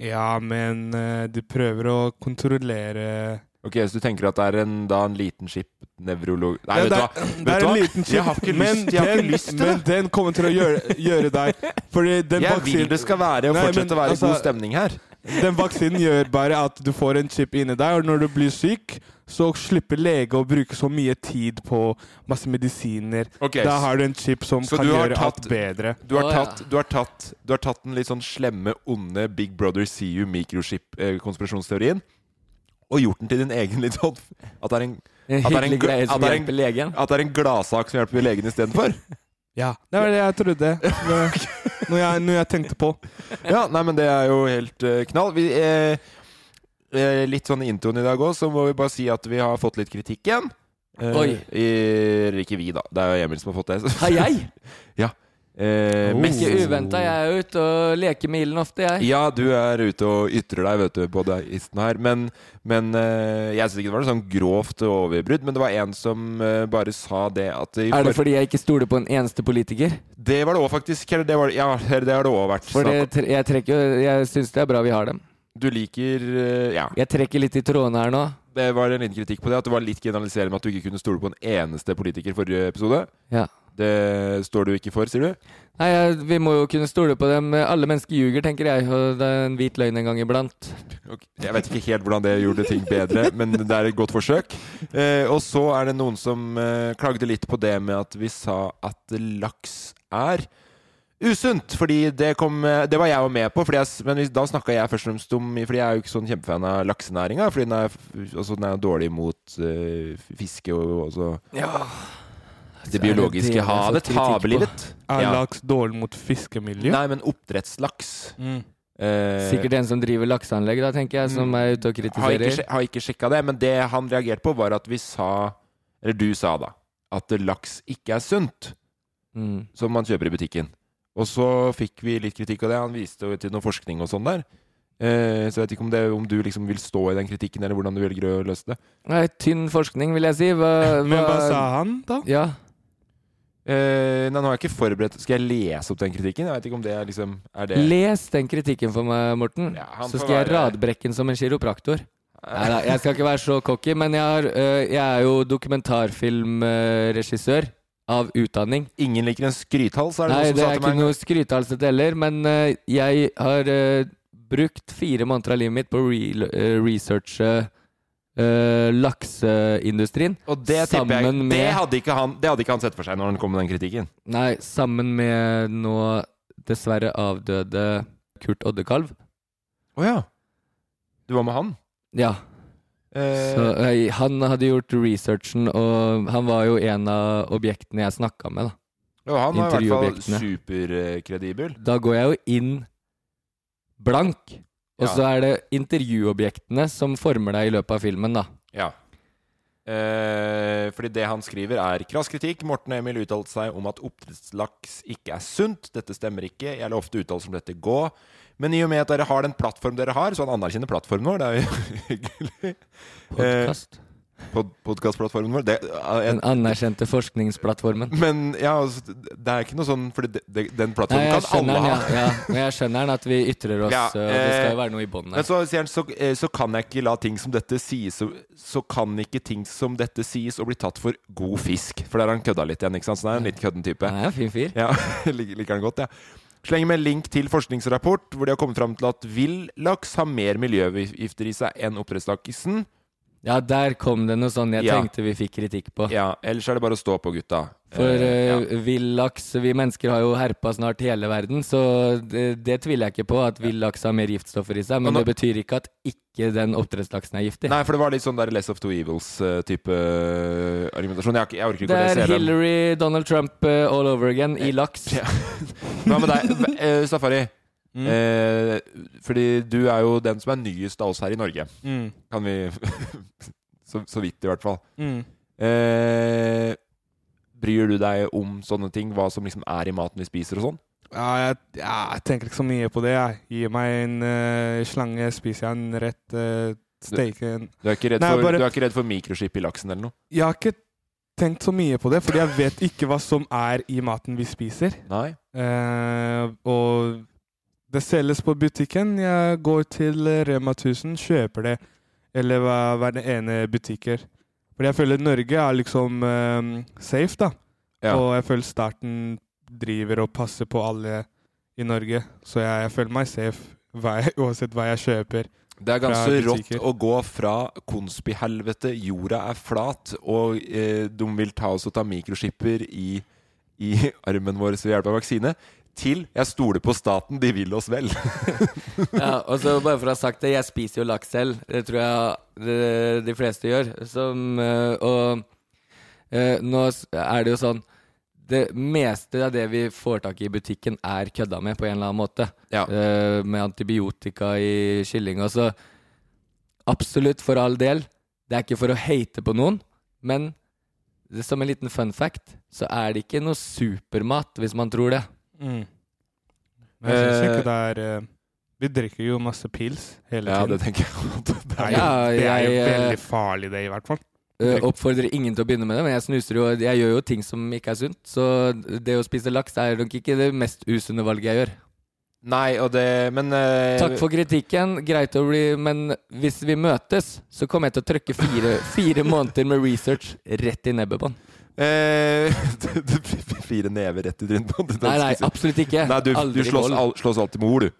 Speaker 4: Ja, men eh, de prøver å kontrollere
Speaker 5: Ok, så du tenker at det er en, da en liten chip nevrolog... Nei,
Speaker 4: Ja,
Speaker 5: vet du
Speaker 4: det
Speaker 5: hva?
Speaker 4: er-
Speaker 5: Vet
Speaker 4: Det er
Speaker 5: du
Speaker 4: en
Speaker 5: hva?
Speaker 4: liten chip,
Speaker 5: Jeg har ikke
Speaker 4: men,
Speaker 5: lyst, jeg har
Speaker 4: den,
Speaker 5: ikke lyst til
Speaker 4: men
Speaker 5: det.
Speaker 4: den kommer til å gjøre, gjøre deg Fordi den
Speaker 5: Jeg vil
Speaker 4: vaksinen,
Speaker 5: det skal være å
Speaker 4: Nei,
Speaker 5: fortsette
Speaker 4: men
Speaker 5: å være i
Speaker 4: altså-
Speaker 5: god stemning her.
Speaker 4: den vaksinen gjør bare at du får en chip inni deg, og når du blir syk, så slipper lege å bruke så mye tid på masse medisiner.
Speaker 5: Ok,
Speaker 4: Da har du en chip som
Speaker 5: Så
Speaker 4: kan
Speaker 5: du har
Speaker 4: gjøre
Speaker 5: tatt-
Speaker 4: alt bedre.
Speaker 5: Du har,
Speaker 6: Å, ja.
Speaker 5: tatt, du, har tatt, du har tatt den litt sånn slemme, onde Big Brother See You mikrochip-konspirasjonsteorien og gjort den til din egen litt sånn At det er en,
Speaker 6: En
Speaker 5: At det er en
Speaker 6: hyggelig
Speaker 5: gl-
Speaker 6: greie
Speaker 5: at
Speaker 6: som
Speaker 5: det er en-
Speaker 6: hjelper legen.
Speaker 5: at det er en gladsak som hjelper legen istedenfor.
Speaker 4: Ja, det var det jeg trodde. Det- Når jeg, når jeg tenkte på.
Speaker 5: Ja, nei, men det er jo helt eh, knall. Vi, eh, eh, litt sånn i introen i dag òg, så må vi bare si at vi har fått litt kritikk igjen. Eh,
Speaker 6: Oi.
Speaker 5: I, eller ikke vi, da. Det er jo Emil som har fått det.
Speaker 6: Har jeg?
Speaker 5: Eh,
Speaker 4: Oh.
Speaker 5: mest-
Speaker 6: Ikke uventa. Jeg er ute og leker med ilden ofte, jeg.
Speaker 5: Ja, du er ute og ytrer deg, vet du, på deisten her. Men, men eh, jeg syns ikke det var noe sånn grovt overbrudd. Men det var en som eh, bare sa det at i
Speaker 6: Er det
Speaker 5: for-
Speaker 6: fordi jeg ikke stoler på en eneste politiker?
Speaker 5: Det var det òg, faktisk. Eller det var, ja, eller det har det òg vært.
Speaker 6: For
Speaker 5: snakk
Speaker 6: det,
Speaker 5: om.
Speaker 6: tre- jeg trekker jo Jeg syns det er bra vi har dem.
Speaker 5: Du liker eh, Ja.
Speaker 6: Jeg trekker litt i trådene her nå.
Speaker 5: Det var en liten kritikk på det. At det var litt generaliserende at du ikke kunne stole på en eneste politiker forrige episode.
Speaker 6: Ja.
Speaker 5: Det står du ikke for, sier du?
Speaker 6: Nei, jeg, Vi må jo kunne stole på dem. Alle mennesker ljuger, tenker jeg. Og det er en hvit løgn en gang iblant.
Speaker 5: Ok, Jeg vet ikke helt hvordan det gjorde ting bedre, men det er et godt forsøk. Eh, og så er det noen som eh, klagde litt på det med at vi sa at laks er usunt. Fordi det, kom, eh, det var jeg jo med på, fordi jeg, s- men hvis- da snakka jeg først og fremst om Fordi jeg er jo ikke sånn kjempefan av laksenæringa, fordi den er, f- altså, den er dårlig mot eh, fiske og også
Speaker 6: Ja.
Speaker 5: det biologiske havet. Havelivet.
Speaker 4: Er
Speaker 5: Ja.
Speaker 4: laks dårlig mot fiskemiljø?
Speaker 5: Nei, men oppdrettslaks.
Speaker 4: Mm.
Speaker 5: Eh, Mm.
Speaker 6: Sikkert en som driver lakseanlegg, da, tenker jeg, som er ute og
Speaker 5: har ikke,
Speaker 6: kritiserer.
Speaker 5: sje- har ikke sjekka det, men det han reagerte på, var at vi sa Eller du sa, da. At laks ikke er sunt,
Speaker 6: Mm.
Speaker 5: som man kjøper i butikken. Og så fikk vi litt kritikk av det. Han viste jo til noe forskning og sånn der. Eh, så jeg vet ikke om, det, om du liksom vil stå i den kritikken, eller hvordan du velger å løse det.
Speaker 6: Nei, tynn forskning, vil jeg si. Hva,
Speaker 4: Men hva sa han, da?
Speaker 6: eh, Ja.
Speaker 5: Eh, nei, nå har jeg ikke forberedt Skal jeg lese opp den kritikken? Jeg vet ikke om det er liksom Er det
Speaker 6: Les den kritikken for meg, Morten.
Speaker 5: Ja, han
Speaker 6: så
Speaker 5: får
Speaker 6: skal jeg
Speaker 5: være-
Speaker 6: radbrekke den som en kiropraktor. Neida, jeg skal ikke være så cocky, men jeg, har, øh, jeg er jo dokumentarfilmregissør av utdanning.
Speaker 5: Ingen liker en skrythals, er det
Speaker 6: Nei,
Speaker 5: noen
Speaker 6: det
Speaker 5: som sa til
Speaker 6: er
Speaker 5: meg? en
Speaker 6: ikke
Speaker 5: gang?
Speaker 6: noe skrytehalset heller, men øh, jeg har øh, brukt fire måneder av livet mitt på å re øh, researche øh, lakseindustrien.
Speaker 5: Og det tipper jeg
Speaker 6: sammen
Speaker 5: det
Speaker 6: med-
Speaker 5: hadde, ikke han, det hadde ikke han sett for seg når han kom med den kritikken.
Speaker 6: Nei, sammen med nå dessverre avdøde Kurt Oddekalv.
Speaker 5: Å ja. Du var med han?
Speaker 6: Ja.
Speaker 5: Eh,
Speaker 6: Så, eh, han hadde gjort researchen, og han var jo en av objektene jeg snakka med. Da.
Speaker 5: Ja, han var i hvert fall
Speaker 6: Intervjuobjektene.
Speaker 5: superkredibel.
Speaker 6: da går jeg jo inn blank, og
Speaker 5: Ja.
Speaker 6: så er det intervjuobjektene som former deg i løpet av filmen. da
Speaker 5: Ja. Eh, fordi det han skriver, er krass kritikk. Morten og Emil uttalte seg om at oppdrettslaks ikke er sunt. Dette stemmer ikke. Jeg lar ofte uttalelser om dette gå. Men i og med at dere har den plattform dere har, så han anerkjenner plattformen vår. Det er jo hyggelig.
Speaker 6: Podkast.
Speaker 5: Eh, Pod Podkastplattformen vår. Det, eh,
Speaker 6: Den anerkjente forskningsplattformen.
Speaker 5: men ja, altså, det er ikke noe sånn For det, det, den
Speaker 6: Nei,
Speaker 5: plattformen
Speaker 6: jeg
Speaker 5: kan
Speaker 6: skjønner
Speaker 5: alle
Speaker 6: den,
Speaker 5: ha.
Speaker 6: ja, ja. Men jeg skjønner den at vi ytrer oss,
Speaker 5: Ja,
Speaker 6: og det skal
Speaker 5: eh,
Speaker 6: jo være noe i bånn
Speaker 5: Men
Speaker 6: her.
Speaker 5: så sier han så, eh, så kan jeg ikke la ting som dette sies Så, så kan ikke ting som dette sies og bli tatt for god fisk. For der har han kødda litt igjen, ikke sant? Så han er en litt kødden type.
Speaker 6: Han er en fin fyr.
Speaker 5: Ja, lik- liker han godt, ja. Slenger med link til forskningsrapport hvor de har kommet fram til at vill laks har mer miljøgifter i seg enn oppdrettslaksen.
Speaker 6: Ja, der kom det noe sånn jeg
Speaker 5: Ja.
Speaker 6: tenkte vi fikk kritikk på.
Speaker 5: Ja, ellers er det bare å stå på, gutta.
Speaker 6: For
Speaker 5: Eh, ja.
Speaker 6: uh, villaks Vi mennesker har jo herpa snart hele verden, så det, det tviler jeg ikke på at villaks har mer giftstoffer i seg. Men
Speaker 5: Og nå-
Speaker 6: det betyr ikke at ikke den oppdrettslaksen er giftig.
Speaker 5: Nei, for det var litt sånn der Less of Two Evils-type eh, argumentasjon. Jeg, har ikke- jeg orker ikke
Speaker 6: det
Speaker 5: å
Speaker 6: er
Speaker 5: lese hele.
Speaker 6: Hillary, Donald Trump eh, all over again i laks.
Speaker 5: Ja. Hva med deg, eh, Safari? Eh, fordi du er jo den som er nyest av oss her i Norge.
Speaker 4: Mm.
Speaker 5: Kan vi så, så vidt, i hvert fall.
Speaker 4: Mm.
Speaker 5: Eh, bryr du deg om sånne ting? Hva som liksom er i maten vi spiser og sånn?
Speaker 4: Ja, jeg, ja, jeg tenker ikke så mye på det. Jeg. Gi meg en eh, slange, spiser jeg en rett uh, steike en-
Speaker 5: Du er ikke redd,
Speaker 4: Nei,
Speaker 5: for,
Speaker 4: bare-
Speaker 5: du er ikke redd for mikroskip i laksen eller noe?
Speaker 4: Jeg har ikke tenkt så mye på det, fordi jeg vet ikke hva som er i maten vi spiser.
Speaker 5: Nei?
Speaker 4: Eh, og det selges på butikken. Jeg går til eh, Rema 1000, kjøper det. Eller hva, hva er det ene butikker. Fordi jeg føler Norge er liksom eh, safe, da.
Speaker 5: Ja.
Speaker 4: Og jeg føler staten driver og passer på alle i Norge. Så jeg, jeg føler meg safe hva jeg, uansett hva jeg kjøper.
Speaker 5: Det er ganske
Speaker 4: Fra
Speaker 5: rått
Speaker 4: butikker.
Speaker 5: å gå fra konspihelvete, jorda er flat, og eh, de vil ta oss og ta mikroskipper i, i armen vår ved hjelp av vaksine, til jeg stoler på staten, de vil oss vel.
Speaker 6: Ja, og så bare for å ha sagt det, jeg spiser jo laks selv. Det tror jeg de, de fleste gjør. Som, eh, og eh, nå s- er det jo sånn Det meste av det vi får tak i i butikken, er kødda med på en eller annen måte.
Speaker 5: Ja.
Speaker 6: Eh, med antibiotika i kylling og så. Absolutt, for all del. Det er ikke for å hate på noen, men det- som en liten fun fact, så er det ikke noe supermat, hvis man tror det.
Speaker 4: Men jeg syns
Speaker 5: Mm. Eh,
Speaker 4: ikke det er eh, Vi drikker jo masse pils hele
Speaker 5: Ja, det
Speaker 4: tiden.
Speaker 5: tenker jeg. at det
Speaker 4: Det er,
Speaker 5: er.
Speaker 4: jo,
Speaker 6: Ja,
Speaker 4: det er jo
Speaker 6: jeg, eh,
Speaker 4: veldig farlig, det, i hvert fall.
Speaker 6: Eh, oppfordrer ingen til å begynne med det, men jeg snuser jo Jeg gjør jo ting som ikke er sunt, så det å spise laks er nok ikke det mest usunne valget jeg gjør.
Speaker 5: Nei, og det Men eh,
Speaker 6: Takk for kritikken, greit å bli Men hvis vi møtes, så kommer jeg til å trykke fire, fire måneder med research rett i nebbet på den.
Speaker 5: eh, du fikk Fire never rett i trynet på den.
Speaker 6: Nei, nei, absolutt ikke.
Speaker 5: Nei, du, du
Speaker 6: Aldri
Speaker 5: slåss,
Speaker 6: vold.
Speaker 5: al, slåss alltid med ord, du.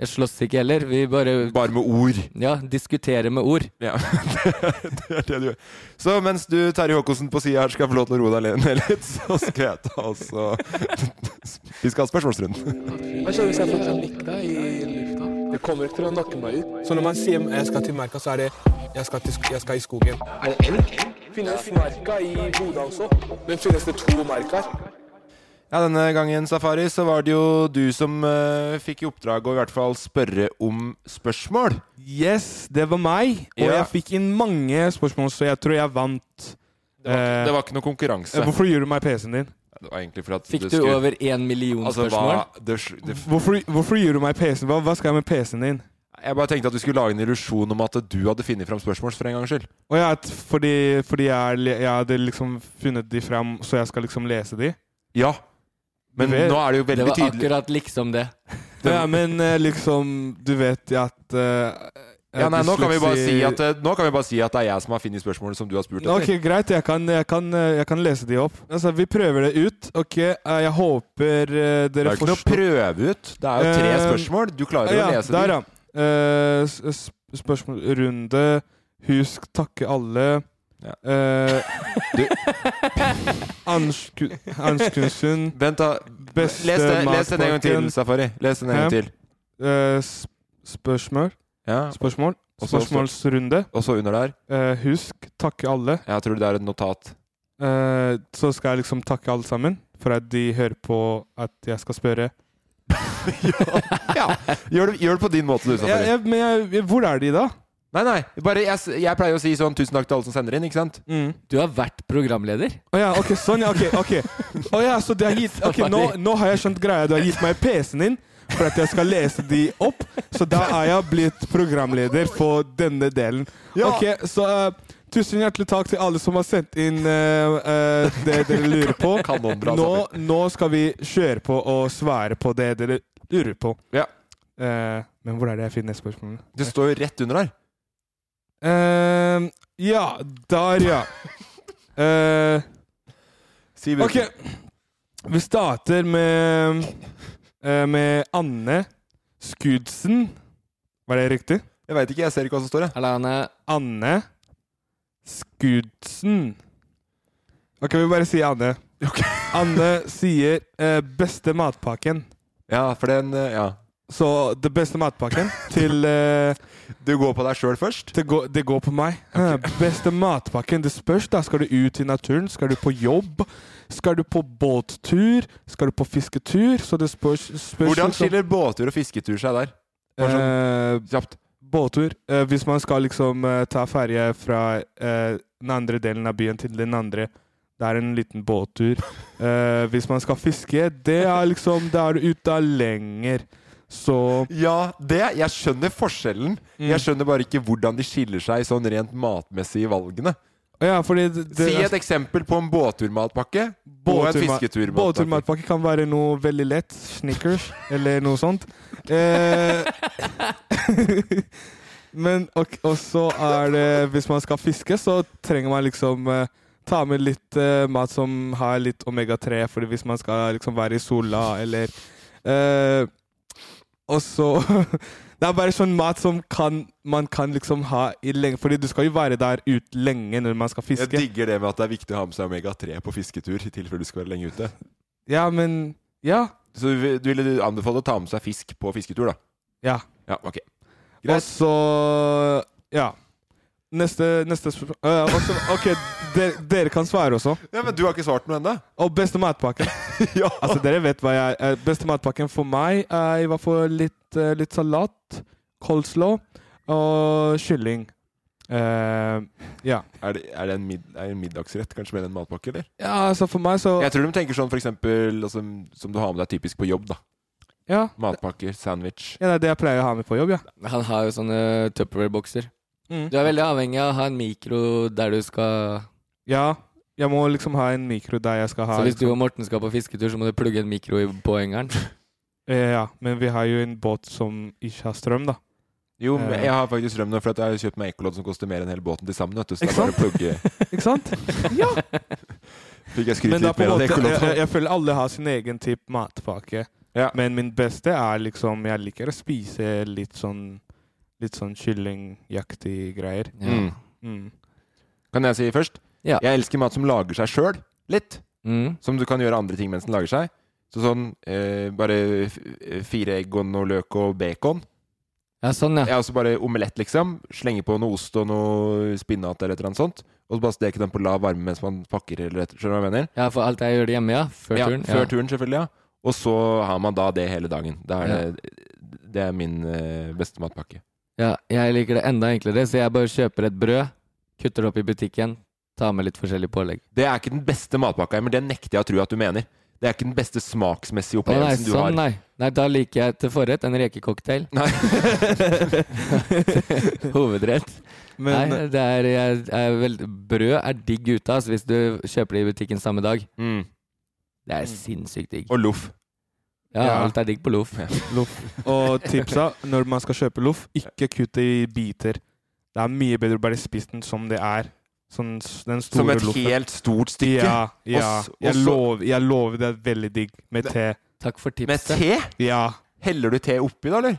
Speaker 6: Jeg slåss ikke heller. Vi bare
Speaker 5: Bare med ord.
Speaker 6: ja, diskuterer med ord.
Speaker 5: Ja, det er- det er det du gjør. Så mens du, Terje Håkonsen, på sida her skal få lov til å roe deg ned litt, så skal jeg ta oss og Vi skal ha spørsmålsrunden.
Speaker 8: Hva skjer hvis jeg får klikka i lufta? Det kommer ikke til å nakke meg ut. Så når man sier jeg skal til merka, så er det jeg skal, i skogen. Er det elg? Finnes merka i Bodø også? Men finnes det to merker?
Speaker 5: Ja, denne gangen, Safari, så var det jo du som eh, fikk i oppdrag å i hvert fall spørre om spørsmål.
Speaker 4: Yes, det var meg. Og
Speaker 5: Ja.
Speaker 4: jeg fikk inn mange spørsmål, så jeg tror jeg vant.
Speaker 5: Det var,
Speaker 4: Eh,
Speaker 5: det var ikke noe konkurranse.
Speaker 4: eh, hvorfor gir du meg PC-en din?
Speaker 5: Det var egentlig for at
Speaker 6: Fikk
Speaker 5: det
Speaker 6: du
Speaker 5: skulle-
Speaker 6: over én million
Speaker 5: altså,
Speaker 6: spørsmål?
Speaker 5: hva, det, sl- det,
Speaker 4: Hvorfor, hvorfor gir du meg PC-en? Hva, hva skal jeg med PC-en din?
Speaker 5: Jeg bare tenkte at du skulle lage en illusjon om at du hadde funnet fram spørsmål. for en gangs skyld
Speaker 4: Og jeg, at- fordi fordi jeg, er le- jeg hadde liksom funnet de fram, så jeg skal liksom lese de?
Speaker 5: Ja, Men
Speaker 4: Du vet-
Speaker 5: nå er det jo
Speaker 6: Det
Speaker 5: veldig
Speaker 6: var
Speaker 5: tydelig.
Speaker 6: akkurat liksom det.
Speaker 4: Ja, men eh, liksom Du vet at eh,
Speaker 5: Ja, nei, nå, kan vi bare
Speaker 4: dysleksi-
Speaker 5: si at, eh, nå kan vi bare si at det er jeg som har funnet spørsmålet som du har spurt etter.
Speaker 4: Ok, greit. Jeg kan, jeg, kan, eh, jeg kan lese de opp. Altså, Vi prøver det ut. Ok, eh, jeg håper eh,
Speaker 5: Det er
Speaker 4: dere
Speaker 5: jo ikke noe å prøve ut. Det er jo tre
Speaker 4: Eh,
Speaker 5: spørsmål. Du klarer jo
Speaker 4: ja,
Speaker 5: å lese
Speaker 4: der,
Speaker 5: dem.
Speaker 4: ja. Eh, s- s- spørsmålrunde. Husk takke alle.
Speaker 5: Ja.
Speaker 4: Eh,
Speaker 5: Du-
Speaker 4: Ansku- Anskunsund.
Speaker 5: Vent, da.
Speaker 4: Beste
Speaker 5: Les, det, les den en gang til,
Speaker 4: matpakken.
Speaker 5: Safari. Les den en gang
Speaker 4: Hæ?
Speaker 5: til.
Speaker 4: Eh, s- spørsmål.
Speaker 5: Ja.
Speaker 4: Spørsmål.
Speaker 5: Og så-
Speaker 4: Spørsmålsrunde.
Speaker 5: Og så under der.
Speaker 4: Eh, husk takke alle.
Speaker 5: Jeg tror det er et notat.
Speaker 4: Eh, så skal jeg liksom takke alle sammen for at de hører på at jeg skal spørre.
Speaker 5: ja. Gjør, det, gjør det på din måte, du,
Speaker 4: Jeg,
Speaker 5: Safari.
Speaker 4: jeg, men jeg, jeg, hvor er de da?
Speaker 5: Nei, nei. Bare, jeg, s- jeg pleier å si sånn 'tusen takk til alle som sender inn', ikke sant?
Speaker 4: Mm.
Speaker 6: Du har vært programleder?
Speaker 4: Å ja, ok, sånn, ja. Ok. ok. Å ja, så du har gitt, ok, nå, nå har jeg skjønt greia. Du har gitt meg PC-en din for at jeg skal lese de opp. Så da er jeg blitt programleder for denne delen.
Speaker 5: Ja.
Speaker 4: Ok, Så eh, tusen hjertelig takk til alle som har sendt inn eh, eh, det dere lurer på.
Speaker 5: Kanonbra,
Speaker 4: Nå, nå skal vi kjøre på og svare på det dere lurer på.
Speaker 5: Ja.
Speaker 4: Eh, men hvor er det jeg finner spørsmålene?
Speaker 5: Det står jo rett under her.
Speaker 4: Eh, ja, der, ja. Eh,
Speaker 5: Si
Speaker 4: Ok, vi starter med eh, Med Anne Skudsen Var det riktig?
Speaker 5: Jeg veit ikke, jeg ser ikke hva som står, jeg.
Speaker 6: Eller han er
Speaker 4: Anne Skudsen Ok, vi bare sier Anne Anne sier eh, beste matpakken
Speaker 5: Ja, for den eh, Ja.
Speaker 4: Så det beste matpakken til, eh,
Speaker 5: Du går på deg sjøl først?
Speaker 4: det, går, det går på meg Eh, Beste matpakken, det spørs da Skal du ut i naturen? Skal du på jobb? Skal du på båttur? Skal du på fisketur? Så det spørs, spørs
Speaker 5: Hvordan
Speaker 4: liksom-
Speaker 5: skiller båttur og fisketur seg der? Bare sånn
Speaker 4: Eh,
Speaker 5: kjapt.
Speaker 4: båttur. Eh, hvis man skal liksom eh, ta ferje fra eh, den andre delen av byen til den andre, det er en liten båttur. Eh, hvis man skal fiske, det er liksom Da er du ute lenger. Så
Speaker 5: Ja, det. Jeg skjønner forskjellen. Jeg skjønner bare ikke hvordan de skiller seg sånn rent matmessig i valgene.
Speaker 4: Ja, fordi det, det,
Speaker 5: Si et eksempel på en båtturmatpakke og en
Speaker 4: Båtturma-
Speaker 5: fisketurmatpakke.
Speaker 4: Båtturmatpakke kan være noe veldig lett. Snickers eller noe sånt. Eh, men og, og så er det Hvis man skal fiske, så trenger man liksom eh, ta med litt eh, mat som har litt omega-3, Fordi hvis man skal liksom være i sola eller eh, Og så Det er bare sånn mat som kan, man kan liksom ha i lenge. Fordi du skal jo være der ut lenge når man skal
Speaker 5: Jeg
Speaker 4: fiske.
Speaker 5: digger det med at det er viktig å ha med seg omega-3 på fisketur. I tilfelle du skal være lenge ute
Speaker 4: Ja, men Ja.
Speaker 5: Så du, vil- du ville anbefale å ta med seg fisk på fisketur, da?
Speaker 4: Ja.
Speaker 5: Ja, ok Greit.
Speaker 4: Og så Ja. Neste, neste spørsmål Øh, og så- Ok, dere, dere kan svare også.
Speaker 5: Ja, Men du har ikke svart noe ennå?
Speaker 4: Og beste matpakken.
Speaker 5: ja.
Speaker 4: Altså, dere vet hva jeg eh, Beste matpakken for meg er i hvert fall litt, eh, litt salat, coleslaw og kylling. Eh,
Speaker 5: Er det, er det en, mid, er det en middagsrett, kanskje mer enn en matpakke? eller?
Speaker 4: ja, altså for meg så
Speaker 5: Jeg tror de tenker sånn for eksempel altså, som du har med deg typisk på jobb. da
Speaker 4: Ja,
Speaker 5: Matpakker, sandwich.
Speaker 4: ja det er det jeg pleier å ha med på jobb, ja.
Speaker 6: Han har jo sånne Tupperware-bokser.
Speaker 4: Mm.
Speaker 6: Du er veldig avhengig av å ha en mikro der du skal
Speaker 4: Ja, jeg må liksom ha en mikro der jeg skal ha
Speaker 6: Så hvis du og Morten skal på fisketur, så må du plugge en mikro i påhengeren.
Speaker 4: Eh, Ja, men vi har jo en båt som ikke har strøm, da.
Speaker 5: Jo, men
Speaker 4: Eh.
Speaker 5: jeg har faktisk drømt nå, for at jeg har kjøpt meg ekkolodd som koster mer enn hele båten til sammen. Vet du, så det
Speaker 4: Ikke
Speaker 5: er bare å plugge
Speaker 4: Ikke sant?
Speaker 5: Fikk jeg skryt
Speaker 4: Men da
Speaker 5: litt
Speaker 4: på
Speaker 5: mer
Speaker 4: en
Speaker 5: av det
Speaker 4: måte, jeg, jeg,
Speaker 5: ekkoloddet?
Speaker 4: jeg føler alle har sin egen type matpakke.
Speaker 5: Ja.
Speaker 4: Men min beste er liksom Jeg liker å spise litt sånn Litt sånn kyllingjaktig greier.
Speaker 6: Ja.
Speaker 5: Mm.
Speaker 4: Mm.
Speaker 5: Kan jeg si først?
Speaker 6: Ja.
Speaker 5: Jeg elsker mat som lager seg sjøl, litt.
Speaker 6: Mm.
Speaker 5: Som du kan gjøre andre ting mens den lager seg. Så sånn eh, bare f eh, fire egg og noe løk og bacon.
Speaker 6: ja, sånn, ja.
Speaker 5: Jeg har også bare omelett, liksom. Slenge på noe ost og noe spinnat eller et eller annet sånt. Og så bare steke den på lav varme mens man pakker eller et Skjønner du hva jeg mener?
Speaker 6: Ja, for alt jeg gjør det hjemme, ja. Før
Speaker 5: ja,
Speaker 6: turen.
Speaker 5: Før turen, selvfølgelig, ja. Og så har man da det hele dagen. Da er
Speaker 6: Ja.
Speaker 5: det, det er min eh, beste matpakke.
Speaker 6: Ja, jeg liker det enda enklere, så jeg bare kjøper et brød, kutter det opp i butikken, tar med litt forskjellig pålegg.
Speaker 5: Det er ikke den beste matpakka, men det nekter jeg å tro at du mener. Det er ikke den beste smaksmessige
Speaker 6: Å nei,
Speaker 5: opplevelsen du
Speaker 6: sånn,
Speaker 5: har.
Speaker 6: nei. Nei, da liker jeg til forrett en rekecocktail. Hovedrett.
Speaker 4: Men
Speaker 6: nei, det er, jeg, er vel, brød er digg ute, altså, hvis du kjøper det i butikken samme dag.
Speaker 5: Mm.
Speaker 6: Det er sinnssykt digg.
Speaker 5: Og loff.
Speaker 6: Ja,
Speaker 4: Ja.
Speaker 6: alt er digg på loff.
Speaker 4: loff. Og tipsa når man skal kjøpe loff, ikke kutt det i biter. Det er mye bedre å bare spise den som det er. Sånn s- den store
Speaker 5: Som et
Speaker 4: loffen.
Speaker 5: helt stort stykke.
Speaker 4: Ja. ja.
Speaker 5: Og s- og
Speaker 4: jeg,
Speaker 5: så-
Speaker 4: lover, jeg lover det er veldig digg med te.
Speaker 6: Takk for
Speaker 5: Med
Speaker 6: tipset.
Speaker 5: te?
Speaker 4: Ja.
Speaker 5: Heller du te oppi, da, eller?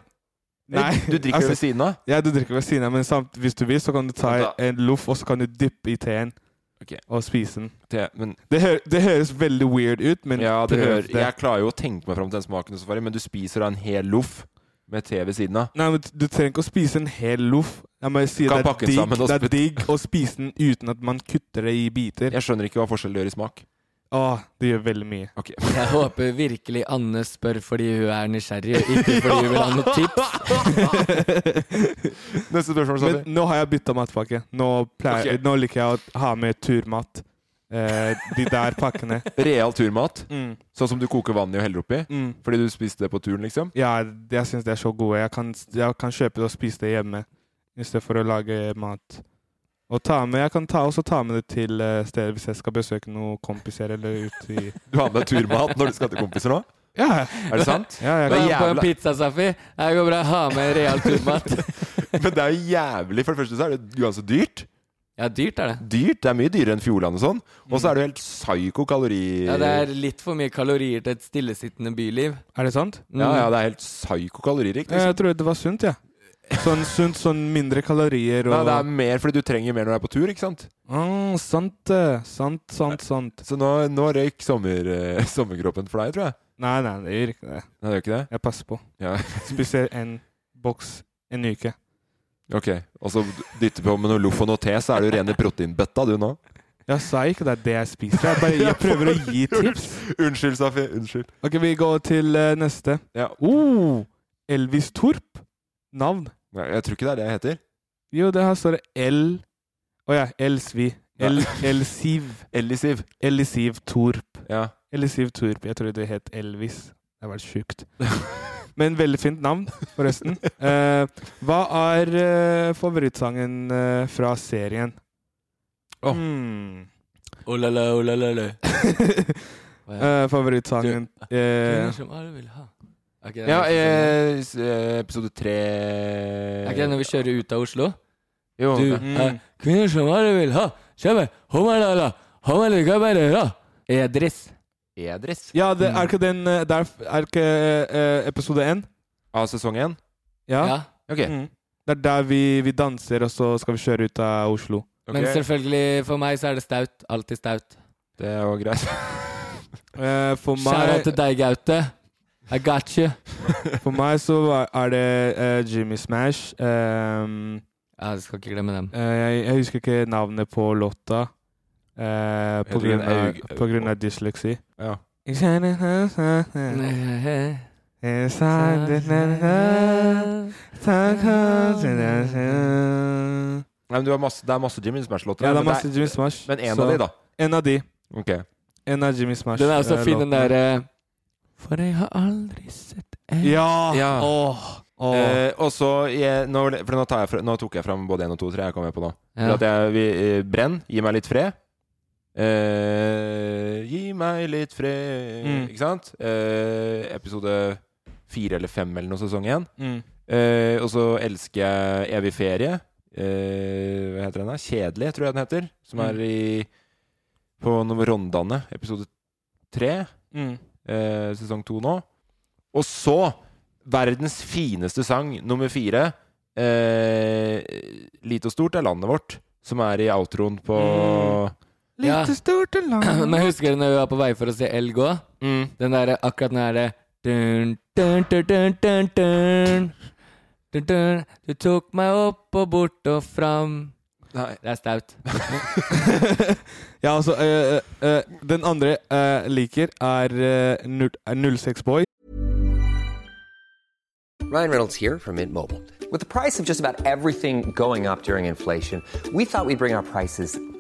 Speaker 4: Nei.
Speaker 5: Du drikker
Speaker 4: altså,
Speaker 5: det ved siden av?
Speaker 4: Ja, du drikker ved siden av, men samt, hvis du vil, så kan du ta en loff, og så kan du dyppe i teen
Speaker 5: Ok.
Speaker 4: og spise den.
Speaker 5: Te, men,
Speaker 4: Det, hø det høres veldig weird ut, men
Speaker 5: ja, det
Speaker 4: prøv
Speaker 5: hører, jeg klarer jo å tenke meg fram til den smaken, og så farlig, men du spiser da en hel loff med te ved siden av.
Speaker 4: Nei, men Du trenger ikke å spise en hel loff. Jeg må si
Speaker 5: Kan
Speaker 4: det er,
Speaker 5: pakke den
Speaker 4: digg,
Speaker 5: sammen og
Speaker 4: det er
Speaker 5: spytte.
Speaker 4: digg å spise den uten at man kutter det i biter.
Speaker 5: Jeg skjønner ikke hva forskjellen gjør i smak.
Speaker 4: Å, det gjør veldig mye.
Speaker 5: Ok.
Speaker 6: Jeg håper virkelig Anne spør fordi hun er nysgjerrig, og ikke fordi hun vil ha noe tips.
Speaker 5: Neste spørsmål,
Speaker 4: Men
Speaker 5: Sami.
Speaker 4: nå har jeg bytta matpakke. Nå, pleier,
Speaker 5: Ok.
Speaker 4: nå liker jeg å ha med turmat. Eh, de der pakkene.
Speaker 5: Real turmat.
Speaker 4: Mm,
Speaker 5: Sånn som du koker vann i og heller oppi?
Speaker 4: mm.
Speaker 5: Fordi du spiste det på turen, liksom?
Speaker 4: Ja, jeg syns de er så gode. Jeg kan, jeg kan kjøpe det og spise det hjemme istedenfor å lage mat. Og ta med, jeg kan ta, også ta med det til eh, stedet hvis jeg skal besøke noen kompiser eller ut i
Speaker 5: Du har med deg turmat når du skal til kompiser nå?
Speaker 4: Ja,
Speaker 5: Er det sant?
Speaker 4: ja jeg kan.
Speaker 6: Hva er på en
Speaker 5: jævla-
Speaker 6: pizza, Safi? Det går bra. Ha med real turmat.
Speaker 5: Men det er jo jævlig. For det første så er det uansett dyrt.
Speaker 6: Ja, dyrt er det.
Speaker 5: Dyrt, Det er mye dyrere enn Fjordland og sånn. Og så er det jo helt psyko kalori...
Speaker 6: Ja, det er litt for mye kalorier til et stillesittende byliv.
Speaker 4: Er det sant?
Speaker 6: Mm.
Speaker 5: ja, ja, det er helt psyko kaloririkt.
Speaker 4: Ja,
Speaker 5: Liksom.
Speaker 4: Jeg trodde det var sunt, jeg. Ja. Sånn sunt, sånn mindre kalorier og
Speaker 5: Nei, det er mer fordi du trenger mer når du er på tur, ikke sant?
Speaker 4: Ah, sant, det. sant, sant, sant.
Speaker 5: Så nå, nå røyk sommer, eh, sommerkroppen for deg, tror jeg.
Speaker 4: Nei, nei, det gjør ikke det.
Speaker 5: Nei, det gjør ikke det?
Speaker 4: Jeg passer på.
Speaker 5: Ja.
Speaker 4: Spiser en boks en uke.
Speaker 5: Ok. Og så dytter på med noe loff og noe te, så er du rene proteinbøtta, du nå.
Speaker 4: Jeg sa ikke det er det jeg spiser. Jeg, bare, jeg prøver å gi tips.
Speaker 5: Unnskyld, Safi. Unnskyld.
Speaker 4: Ok, vi går til eh, neste.
Speaker 5: Ja.
Speaker 4: Oh, Elvis Torp. Navn?
Speaker 5: Nei, jeg tror ikke det er det jeg heter.
Speaker 4: Jo, det her står det L Å ja, Elsvi. El,
Speaker 5: Nei.
Speaker 4: Elsiv.
Speaker 5: Ellisiv.
Speaker 4: Elisiv Torp.
Speaker 5: Ja.
Speaker 4: Elisiv Torp. Jeg trodde det het Elvis. Det var sjukt. Men veldig fint navn, forresten. Eh, hva er eh, favorittsangen eh, fra serien?
Speaker 5: Åh.
Speaker 4: Hmm.
Speaker 6: Oh, la, la, oh, la, la, la.
Speaker 4: Eh, favorittsangen eh,
Speaker 6: Kvinner som alle vil ha. Ok, det er
Speaker 5: Ja,
Speaker 6: ikke sånn.
Speaker 5: eh, s- eh, episode tre
Speaker 6: Er ikke det når vi kjører ut av Oslo?
Speaker 5: Jo. Mm.
Speaker 6: Du
Speaker 5: det-
Speaker 6: er kvinner som alle vil ha. Kjøpe homalala, homalikabarera. Edris.
Speaker 5: Edris.
Speaker 4: Ja, det, er ikke den eh, der, Er ikke eh, episode én?
Speaker 5: Av sesong én?
Speaker 4: Ja.
Speaker 6: Ja.
Speaker 5: Ok.
Speaker 4: Mm. Det er der vi, vi danser, og så skal vi kjøre ut av Oslo.
Speaker 5: Ok,
Speaker 6: Men selvfølgelig, for meg så er det staut. Alltid staut.
Speaker 5: Det er jo greit.
Speaker 4: Eh, for,
Speaker 6: Skjæra
Speaker 4: meg,
Speaker 6: til deg, Gaute. I got you.
Speaker 4: for meg så var- er det eh, Jimmy Smash. Ehm,
Speaker 6: Ja, du skal ikke glemme dem.
Speaker 4: Eh, jeg, jeg husker ikke navnet på låta. eh, på,
Speaker 5: Heter den
Speaker 4: grunn av,
Speaker 5: Aug-
Speaker 4: på grunn av dysleksi.
Speaker 5: Ja.
Speaker 4: Jeg kjenner hans hjerte. Jeg savner den. Takk for det.
Speaker 5: Nei, men du har masse, det er masse Jimmy Smash-låter.
Speaker 4: Ja, det er
Speaker 5: men
Speaker 4: masse Jimmy Smash.
Speaker 5: Men en
Speaker 4: så-
Speaker 5: av de, da.
Speaker 4: En av de.
Speaker 5: Ok.
Speaker 4: En av Jimmy Smash.
Speaker 6: Den er også
Speaker 4: eh,
Speaker 6: fin, den
Speaker 4: låtene.
Speaker 6: derre For jeg har aldri sett en
Speaker 4: Ja!
Speaker 5: Ja.
Speaker 4: Åh, åh.
Speaker 5: Eh, og så jeg- nå, For nå, tar jeg, fra- nå tok jeg fram både én og to og tre. Jeg kom med på nå. For
Speaker 6: Ja.
Speaker 5: at jeg, vi, eh, brenn. Gi meg litt fred. Eh, gi meg litt fred
Speaker 4: Mm.
Speaker 5: Ikke sant? Eh, episode fire eller fem eller noe sesong én.
Speaker 4: Mm.
Speaker 5: Eh, og så elsker jeg Evig ferie. Eh, hva heter den? da? Kjedelig, tror jeg den heter. Som
Speaker 9: Mm.
Speaker 5: er i på nummer Rondane, episode tre,
Speaker 4: Mm.
Speaker 5: eh, sesong to nå. Og så verdens fineste sang, nummer fire. Eh, Lite og stort er landet vårt, som er i outroen på
Speaker 6: Ja.
Speaker 4: Lite stort og langt.
Speaker 6: Men husker du når vi var på vei for å se elg òg?
Speaker 5: Mm.
Speaker 6: Den derre akkurat den derre uh, dun, dun, dun, dun, dun, dun. Dun, dun. Du tok meg opp og bort og fram
Speaker 5: Nei.
Speaker 6: Det er staut.
Speaker 4: Ja, altså eh, eh, eh, Den andre jeg liker, er eh, null- er 06 Boy.
Speaker 10: Ryan Reynolds here from Mint Mobile. With the price of just about everything going up during inflation, we thought we'd bring our prices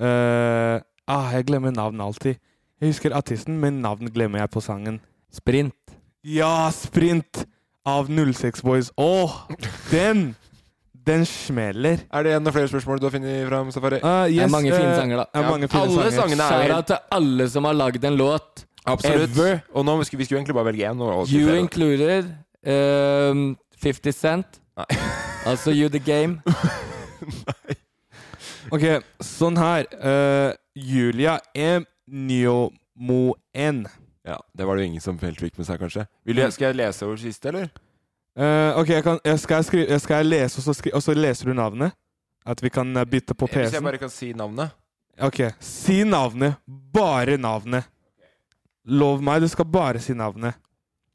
Speaker 4: Eh, ah, jeg glemmer navn alltid. Jeg husker artisten, men navn glemmer jeg på sangen.
Speaker 6: Sprint.
Speaker 4: Ja, Sprint! Av 06 Boys. Åh, den! Den smeller.
Speaker 5: Er det en av flere spørsmål du har funnet fram, Safari?
Speaker 4: Eh,
Speaker 6: Det
Speaker 4: yes,
Speaker 6: er mange fine
Speaker 4: eh,
Speaker 6: sanger, da.
Speaker 4: er mange fine
Speaker 5: Alle
Speaker 4: sanger.
Speaker 5: sangene er
Speaker 6: Shout out til alle som har lagd en låt.
Speaker 5: Absolutt.
Speaker 6: Ever.
Speaker 5: Og nå skulle vi skulle egentlig bare velge én. og- og-
Speaker 6: You included. ehm, 50 Cent. altså You The Game.
Speaker 4: Ok, sånn her. Eh, Julia M. Nyomoen.
Speaker 5: Ja, Det var det jo ingen som helt fikk med seg, kanskje. Vil jeg, skal jeg lese over siste, eller?
Speaker 4: Mm. Eh, ok, jeg kan, jeg skal, jeg skrive, jeg skal lese, og så, skri, og så leser du navnet? At vi kan eh, bytte på
Speaker 5: Hvis jeg
Speaker 4: PC-en?
Speaker 5: bare kan si navnet.
Speaker 4: Ok, si navnet. Bare navnet. Lov meg, du skal bare si navnet.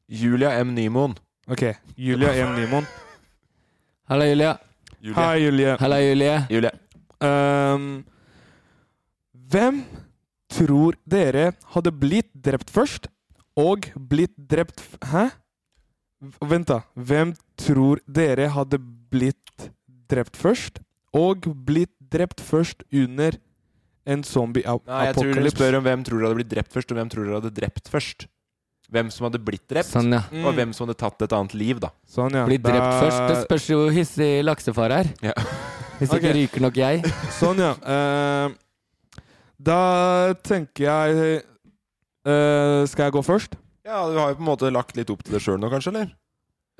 Speaker 5: Julia M. Nymoen.
Speaker 4: Ok, Julia M. Nymon.
Speaker 6: Halla, Julia.
Speaker 5: Julia.
Speaker 4: Hei, Julie.
Speaker 6: Halla, Julie.
Speaker 5: Julia.
Speaker 4: Ehm, hvem tror dere hadde blitt drept først, og blitt drept f Hæ? V- Vent, da. Hvem tror dere hadde blitt drept først, og blitt drept først under en
Speaker 5: Nei, jeg tror dere
Speaker 4: zombie-apokalypse?
Speaker 5: spør om hvem tror dere hadde blitt drept først, og hvem tror dere hadde drept først. Hvem som hadde blitt drept,
Speaker 6: Sånn, ja.
Speaker 5: og hvem som hadde tatt et annet liv, da.
Speaker 4: Mm. Sånn, ja.
Speaker 6: Bli drept
Speaker 4: Da-
Speaker 6: først. Det spørs jo hvor hissig laksefar er.
Speaker 5: Ja.
Speaker 6: Hvis ikke
Speaker 4: Ok.
Speaker 6: ryker nok jeg.
Speaker 4: Sånn, ja. Ehm, da tenker jeg eh, Skal jeg gå først?
Speaker 5: Ja, du har jo på en måte lagt litt opp til det sjøl nå, kanskje, eller?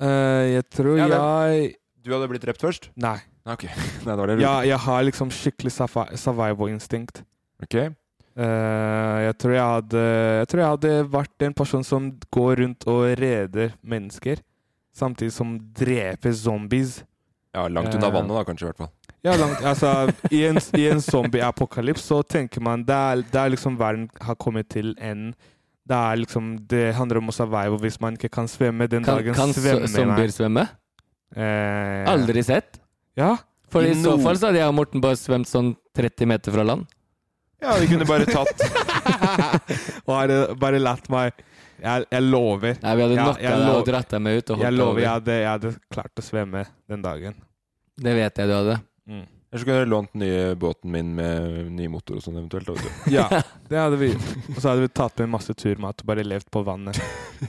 Speaker 4: Eh, jeg tror
Speaker 5: Ja,
Speaker 4: jeg
Speaker 5: Du hadde blitt drept først?
Speaker 4: Nei.
Speaker 5: Nei, ok. Nei, det var det jeg
Speaker 4: Ja,
Speaker 5: lurte
Speaker 4: jeg har liksom skikkelig survi- survival-instinkt.
Speaker 5: på. Ok.
Speaker 4: Eh, jeg, tror jeg, hadde, jeg tror jeg hadde vært en person som går rundt og reder mennesker, samtidig som dreper zombies.
Speaker 5: Ja, langt unna
Speaker 4: Eh.
Speaker 5: vannet, da, kanskje, i hvert fall.
Speaker 4: Ja, langt, altså, I en, i en zombie-apokalypse så tenker man det er, det er liksom verden har kommet til enden. Det, er liksom, det handler om å survive, og hvis man ikke kan svømme den
Speaker 6: Kan,
Speaker 4: dagen
Speaker 6: kan
Speaker 4: svømmer
Speaker 6: so- zombier svømme?
Speaker 4: Eh,
Speaker 6: Aldri sett.
Speaker 4: Ja.
Speaker 6: For i
Speaker 5: No.
Speaker 6: så fall så hadde jeg og Morten bare svømt sånn 30 meter fra land.
Speaker 5: Ja, de kunne bare tatt
Speaker 4: bare, bare latt meg Jeg, jeg lover.
Speaker 6: Nei, vi hadde
Speaker 4: Ja,
Speaker 6: knocka
Speaker 4: jeg
Speaker 6: deg og
Speaker 4: lover-
Speaker 6: dratt deg med ut. Og hoppet
Speaker 4: Jeg lover
Speaker 6: over.
Speaker 4: jeg hadde, jeg hadde klart å svømme den dagen.
Speaker 6: Det vet jeg du hadde.
Speaker 5: Eller så kunne jeg lånt den nye båten min med ny motor og sånn eventuelt. da, vet du.
Speaker 4: Ja, det hadde vi. Og så hadde vi tatt med masse turmat og bare levd på vannet.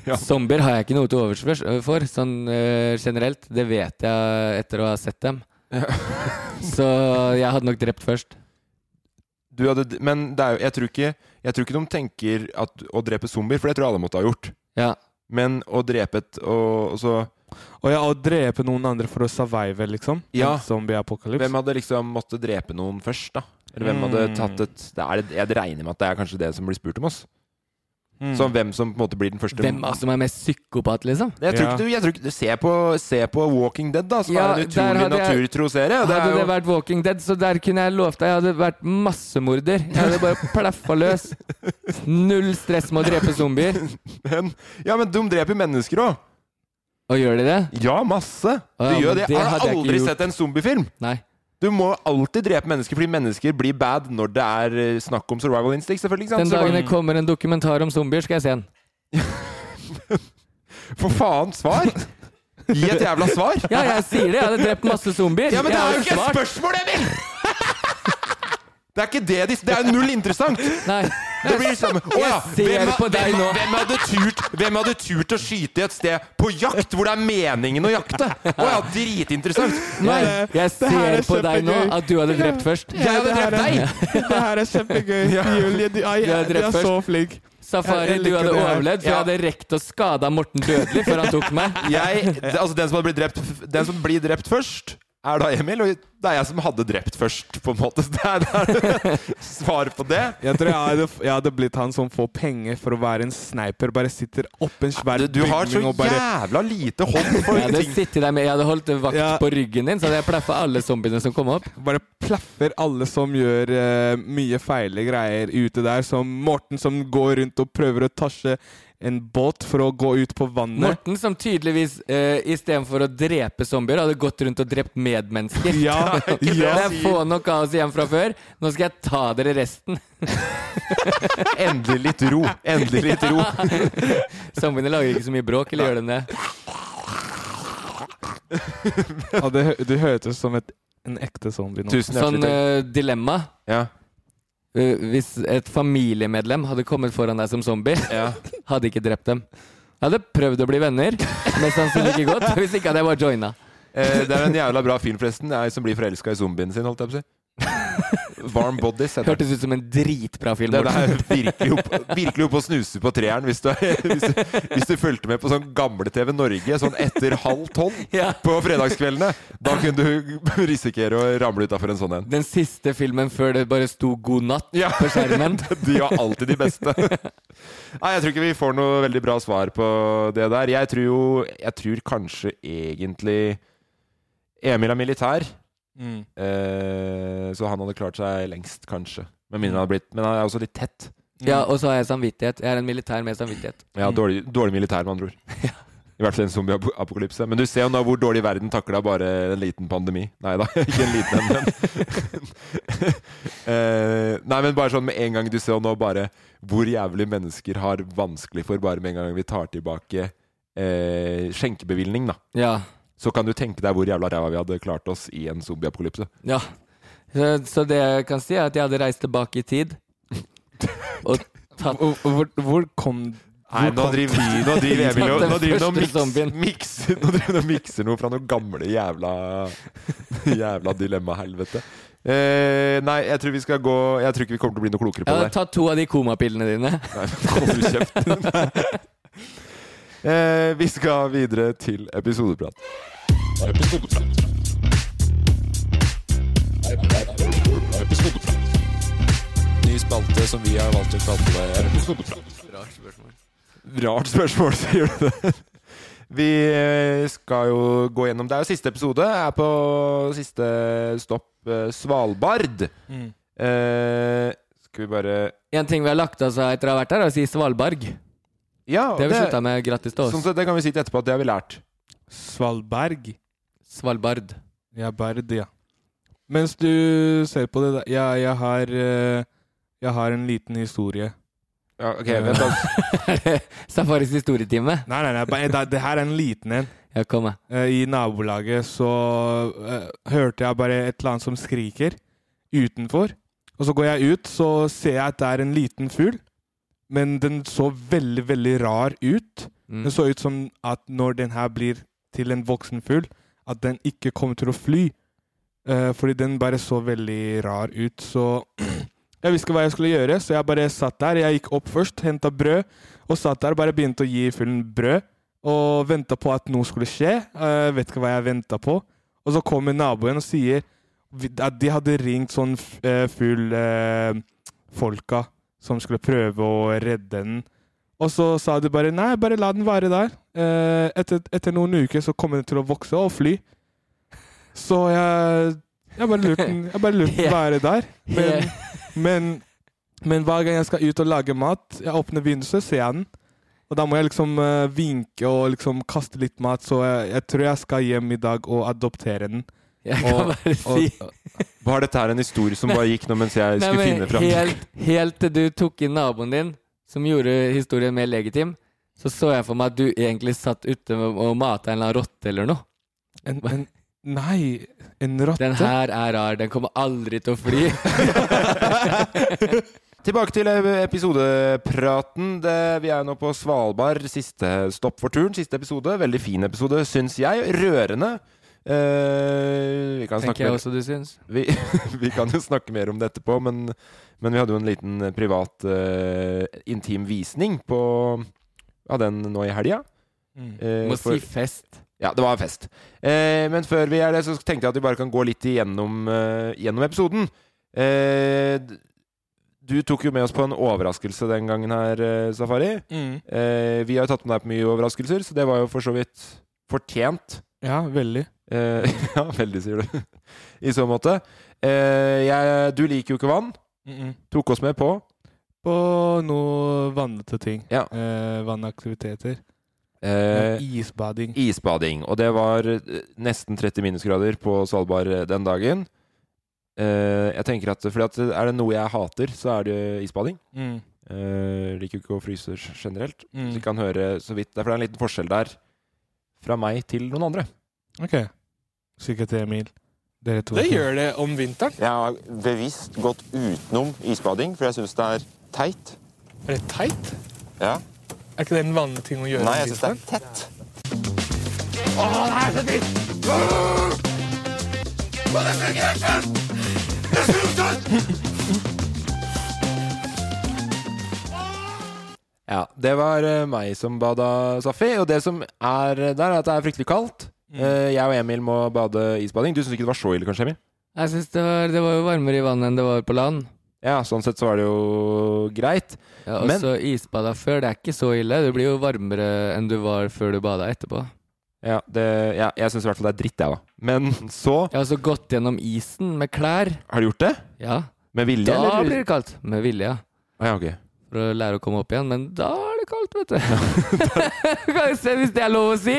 Speaker 5: Ja.
Speaker 6: Zombier har jeg ikke noe til overs for- for, sånn eh, generelt. Det vet jeg etter å ha sett dem. Så jeg hadde nok drept først.
Speaker 5: Du hadde, d- men det er jo, jeg, tror ikke, jeg tror ikke de tenker at, å drepe zombier, for det tror jeg alle måtte ha gjort.
Speaker 6: Ja.
Speaker 5: Men å drepe et og, og så
Speaker 4: Og ja, å drepe noen andre for å survive, liksom.
Speaker 5: Ja.
Speaker 4: En zombie-apokalypse.
Speaker 5: Hvem hadde liksom måttet drepe noen først, da? Eller hvem
Speaker 4: Mm.
Speaker 5: hadde tatt et det er, Jeg regner med at det er kanskje det som blir spurt om oss.
Speaker 4: Mm.
Speaker 5: Så hvem som på en måte blir den første
Speaker 6: Hvem av oss som er mest psykopat, liksom?
Speaker 5: Jeg tror
Speaker 4: Ja.
Speaker 5: ikke du, jeg tror ikke, du se, på, se på Walking Dead, da, som
Speaker 6: Ja,
Speaker 5: er en
Speaker 6: der
Speaker 5: utrolig
Speaker 6: hadde jeg-
Speaker 5: naturtro serie. Det
Speaker 6: hadde
Speaker 5: er
Speaker 6: det
Speaker 5: jo,
Speaker 6: vært Walking Dead, så der kunne jeg lovt deg jeg hadde vært massemorder. Jeg hadde bare plaffa løs. Null stress med å drepe zombier.
Speaker 5: men, ja, men de dreper mennesker òg!
Speaker 6: Og gjør de det?
Speaker 5: Ja, masse! Du
Speaker 6: Å, ja,
Speaker 5: gjør
Speaker 6: men
Speaker 5: det.
Speaker 6: det
Speaker 5: Har
Speaker 6: hadde
Speaker 5: du
Speaker 6: jeg ikke
Speaker 5: aldri
Speaker 6: gjort.
Speaker 5: sett en zombiefilm?
Speaker 6: Nei.
Speaker 5: Du må alltid drepe mennesker, fordi mennesker blir bad når det er eh, snakk om survival instinct. selvfølgelig, ikke sant?
Speaker 6: Den dagen det
Speaker 5: Survival-
Speaker 6: kommer en dokumentar om zombier, skal jeg se den.
Speaker 5: For faen, svar! Gi et jævla svar!
Speaker 6: Ja, jeg sier det! Jeg hadde drept masse zombier.
Speaker 5: Ja, men det er
Speaker 6: Jeg hadde
Speaker 5: jo ikke et
Speaker 6: svart.
Speaker 5: spørsmål, Emil! Det er ikke det de Det er jo null interessant!
Speaker 6: Nei.
Speaker 5: Det blir det samme. Å ja,
Speaker 6: Jeg ser
Speaker 5: hvem,
Speaker 6: på deg
Speaker 5: hvem,
Speaker 6: nå.
Speaker 5: hvem, hadde turt, hvem hadde turt å skyte i et sted på jakt hvor det er meningen å jakte? Å ja, dritinteressant!
Speaker 6: Nei,
Speaker 4: Nei,
Speaker 6: jeg
Speaker 4: det her
Speaker 6: ser
Speaker 4: er
Speaker 6: på deg nå
Speaker 4: kjempegøy.
Speaker 6: at du hadde drept først.
Speaker 5: Jeg hadde drept deg!
Speaker 4: Det her er kjempegøy. Julie, du, ai,
Speaker 6: Du er
Speaker 4: du
Speaker 6: drept
Speaker 4: er så flink.
Speaker 6: Safari,
Speaker 5: Jeg- jeg
Speaker 6: du
Speaker 5: liker
Speaker 6: hadde
Speaker 5: det her.
Speaker 6: overlevd, for jeg
Speaker 5: Ja.
Speaker 6: hadde rekt å skada Morten dødelig før han tok meg.
Speaker 5: Jeg, altså den som, hadde blitt drept, den som blir drept først, er da Emil. Og det er jeg som hadde drept først, på en måte. Så det er, det er svar på det.
Speaker 4: Jeg tror jeg hadde, jeg hadde blitt han som får penger for å være en sniper. Bare sitter oppe en svær
Speaker 5: Du, du har så
Speaker 4: bygning og bare
Speaker 5: jævla lite hånd for
Speaker 6: Jeg hadde
Speaker 5: ting.
Speaker 6: sittet der med Jeg hadde holdt vakt
Speaker 4: Ja.
Speaker 6: på ryggen din, så hadde jeg plaffa alle zombiene som kom opp.
Speaker 4: Bare plaffer alle som gjør eh, mye feile greier ute der. Som Morten som går rundt og prøver å tasje en båt for å gå ut på vannet.
Speaker 6: Morten som tydeligvis eh, istedenfor å drepe zombier, hadde gått rundt og drept medmennesker.
Speaker 4: Ja,
Speaker 6: Det
Speaker 4: ikke
Speaker 6: er
Speaker 4: det jeg
Speaker 6: Jeg
Speaker 4: sier.
Speaker 6: får nok kaos igjen fra før. Nå skal jeg ta dere resten.
Speaker 5: Endelig litt ro. Endelig litt ro.
Speaker 6: Zombiene lager ikke så mye bråk, eller gjør de det?
Speaker 4: Ja, det, hø- det hørtes som et, en ekte zombie nå.
Speaker 6: Sånn eh, dilemma.
Speaker 5: Ja.
Speaker 6: Eh, hvis et familiemedlem hadde kommet foran deg som zombie, hadde ikke drept dem. Jeg hadde prøvd å bli venner, mest sannsynlig ikke godt. Hvis ikke hadde jeg bare joina.
Speaker 5: Eh, det er en jævla bra film, forresten. Det er Som blir forelska i zombien sin, holdt jeg på å si. Warm Bodies. heter den.
Speaker 6: Hørtes ut som en dritbra film.
Speaker 5: Det, det er
Speaker 6: Morten.
Speaker 5: virkelig opp, virkelig opp å snuse på treeren hvis du, hvis, du, hvis du fulgte med på sånn gamle-TV Norge sånn etter halv tolv
Speaker 6: Ja.
Speaker 5: på fredagskveldene. Da kunne du risikere å ramle utafor en sånn en.
Speaker 6: Den siste filmen før det bare sto 'God natt'
Speaker 5: Ja.
Speaker 6: på skjermen.
Speaker 5: De har alltid de beste. Nei, jeg tror ikke vi får noe veldig bra svar på det der. Jeg tror jo Jeg tror kanskje egentlig Emil er militær,
Speaker 4: Mm.
Speaker 5: eh, så han hadde klart seg lengst, kanskje. Med mindre han hadde blitt Men han er også litt tett.
Speaker 6: Ja, og så har jeg samvittighet. Jeg er en militær med samvittighet.
Speaker 5: Ja, dårlig, dårlig militær, med andre ord. I hvert fall en zombieapokalypse. Men du ser jo nå hvor dårlig verden takla bare en liten pandemi. Nei da, ikke en liten en, men Eh, Nei, men bare sånn med en gang du ser jo nå bare hvor jævlig mennesker har vanskelig for bare med en gang vi tar tilbake eh, skjenkebevilgning, da.
Speaker 6: Ja.
Speaker 5: Så kan du tenke deg hvor jævla ræva vi hadde klart oss i en zombieapokalypse.
Speaker 6: ja. Så, så det jeg kan si, er at jeg hadde reist tilbake i tid. Og tatt
Speaker 4: Og- og Hvor, hvor kom
Speaker 5: Nei,
Speaker 4: hvor
Speaker 5: nå
Speaker 4: kom-
Speaker 5: driver vi Nå driver Emil og- Nå driver
Speaker 6: Den første
Speaker 5: han og
Speaker 6: zombien.
Speaker 5: miks- mikser Nå driver han og mikser noe fra noe gamle jævla Jævla dilemma-helvete. Eh, nei, jeg tror vi skal gå Jeg tror ikke vi kommer til å bli noe klokere på
Speaker 6: Jeg hadde
Speaker 5: det. der.
Speaker 6: tatt to av de komapillene dine.
Speaker 5: Nei, hold du kjeft. eh, vi skal videre til episodeprat.
Speaker 11: Ny spalte som vi har valgt å kalle
Speaker 5: Rart spørsmål, sier du det? Vi eh, skal jo gå gjennom Det er jo siste episode. Er på siste stopp eh, Svalbard.
Speaker 4: mm.
Speaker 5: Eh, skal vi bare
Speaker 6: En ting vi har lagt oss av etter å ha vært her, er å si Svalbard. Det
Speaker 5: Ja,
Speaker 6: har vi slutta med. Grattis til
Speaker 5: sånn
Speaker 6: oss.
Speaker 5: sett, det kan vi si til etterpå at det har vi lært.
Speaker 4: Svalberg?
Speaker 6: Svalbard.
Speaker 4: Ja, Berd, ja. Mens du ser på det der ja, jeg, har, eh, jeg har en liten historie.
Speaker 5: Ja, ok, vent da.
Speaker 6: Safaris historietime.
Speaker 4: Nei, nei, nei, bare- det, det her er en liten en.
Speaker 6: Ja, kom med.
Speaker 4: Eh, I nabolaget så eh, hørte jeg bare et eller annet som skriker utenfor. Og så går jeg ut, så ser jeg at det er en liten fugl. Men den så veldig, veldig rar ut.
Speaker 6: Mm.
Speaker 4: Det så ut som at når den her blir til en voksen fugl, at den ikke kommer til å fly. Eh, fordi den bare så veldig rar ut. Så jeg visste ikke hva jeg skulle gjøre, så jeg bare satt der. Jeg gikk opp først, henta brød, og satt der og bare begynte å gi fuglen brød. Og venta på at noe skulle skje. Eh, vet ikke hva jeg venta på. Og så kommer naboen og sier vi- at de hadde ringt sånn f- eh, fugl... eh, folka som skulle prøve å redde den. Og så sa de bare nei, bare la den være der. Eh, etter, etter noen uker så kommer den til å vokse og fly. Så jeg, jeg bare lurte den jeg bare lurte den være der. Men, men, men hver gang jeg skal ut og lage mat, jeg åpner vinduet, ser jeg den. Og da må jeg liksom eh, vinke og liksom kaste litt mat, så jeg, jeg tror jeg skal hjem i dag og adoptere den.
Speaker 6: Jeg kan
Speaker 4: Og-
Speaker 6: bare si
Speaker 4: og,
Speaker 5: Var dette her en historie som bare gikk nå mens jeg
Speaker 6: Nei,
Speaker 5: skulle
Speaker 6: men
Speaker 5: finne fram?
Speaker 6: helt, helt til du tok inn naboen din, som gjorde historien mer legitim, så så jeg for meg at du egentlig satt ute med- og mata en eller annen rotte eller noe.
Speaker 4: en, en, nei, en rotte?
Speaker 6: Den her er rar. Den kommer aldri til å fly.
Speaker 5: Tilbake til episodepraten. Det, vi er jo nå på Svalbard. Siste stopp for turen. Siste episode. Veldig fin episode, syns jeg. Rørende. Eh, vi, kan
Speaker 6: Tenker
Speaker 5: snakke
Speaker 6: jeg
Speaker 5: mer,
Speaker 6: også du syns.
Speaker 5: vi, vi kan jo snakke mer om det etterpå, men, Men vi hadde jo en liten eh, privat eh, intim visning på av den nå i helga.
Speaker 6: Mm.
Speaker 5: Eh,
Speaker 6: Må
Speaker 5: for-
Speaker 6: si fest.
Speaker 5: Ja, det var en fest. Eh, men før vi er det, så tenkte jeg at vi bare kan gå litt igjennom, eh, gjennom episoden. Eh, d- du tok jo med oss på en overraskelse den gangen her, eh, Safari.
Speaker 4: Mm.
Speaker 5: Eh, vi har jo tatt med deg på mye overraskelser, så det var jo for så vidt fortjent.
Speaker 4: Ja, veldig.
Speaker 5: Eh, ja, veldig, sier du. I så måte. Eh, jeg, du liker jo ikke vann.
Speaker 4: Mm-mm.
Speaker 5: Tok oss med på
Speaker 4: På noe vannete ting.
Speaker 5: Ja.
Speaker 4: Eh, vannaktiviteter.
Speaker 5: eh,
Speaker 4: Isbading.
Speaker 5: Isbading. Og det var eh, nesten 30 minusgrader på Svalbard eh, den dagen. Eh, jeg tenker at, fordi at eh, Er det noe jeg hater, så er det isbading.
Speaker 4: Mm.
Speaker 5: Eh, liker jo ikke å fryse g- generelt.
Speaker 4: Mm.
Speaker 5: Så vi kan høre så vidt Derfor er det en liten forskjell der fra meg til noen andre.
Speaker 4: Ok. Sikkert til Emil. Dere to.
Speaker 5: Det
Speaker 4: gjør
Speaker 7: det om vinteren.
Speaker 5: Jeg har bevisst gått utenom isbading, for jeg syns det er teit.
Speaker 7: Er det teit?
Speaker 5: Ja.
Speaker 7: Er ikke det en vanlig ting å gjøre?
Speaker 5: Nei, jeg synes det
Speaker 7: er tett.
Speaker 12: Åh, det er så dritt! Åh, det fungerer ikke! Det fungerer ikke!
Speaker 5: Ja, det var eh, meg som bada Safi. Og det som er der, er at det er fryktelig kaldt. Eh, jeg og Emil må bade isbading. Du syns ikke det var så ille, kanskje, Emil?
Speaker 6: Jeg synes det, var, det var jo varmere i vannet enn det var på land.
Speaker 5: Ja, sånn sett så var det jo greit.
Speaker 6: Ja, og
Speaker 5: Men-
Speaker 6: så isbada før, det er ikke så ille. Det blir jo varmere enn du var før du bada etterpå.
Speaker 5: Ja, det, ja jeg syns i hvert fall det er dritt, jeg, da. Men så
Speaker 6: Jeg har også gått gjennom isen med klær.
Speaker 5: Har du gjort det?
Speaker 6: Ja.
Speaker 5: Med vilje,
Speaker 6: da
Speaker 5: eller?
Speaker 6: blir det kaldt. Med vilje, ja.
Speaker 5: Ah, ja, ok.
Speaker 6: For å lære å komme opp igjen. Men da er det kaldt, vet du. kan jo se hvis det er lov å si.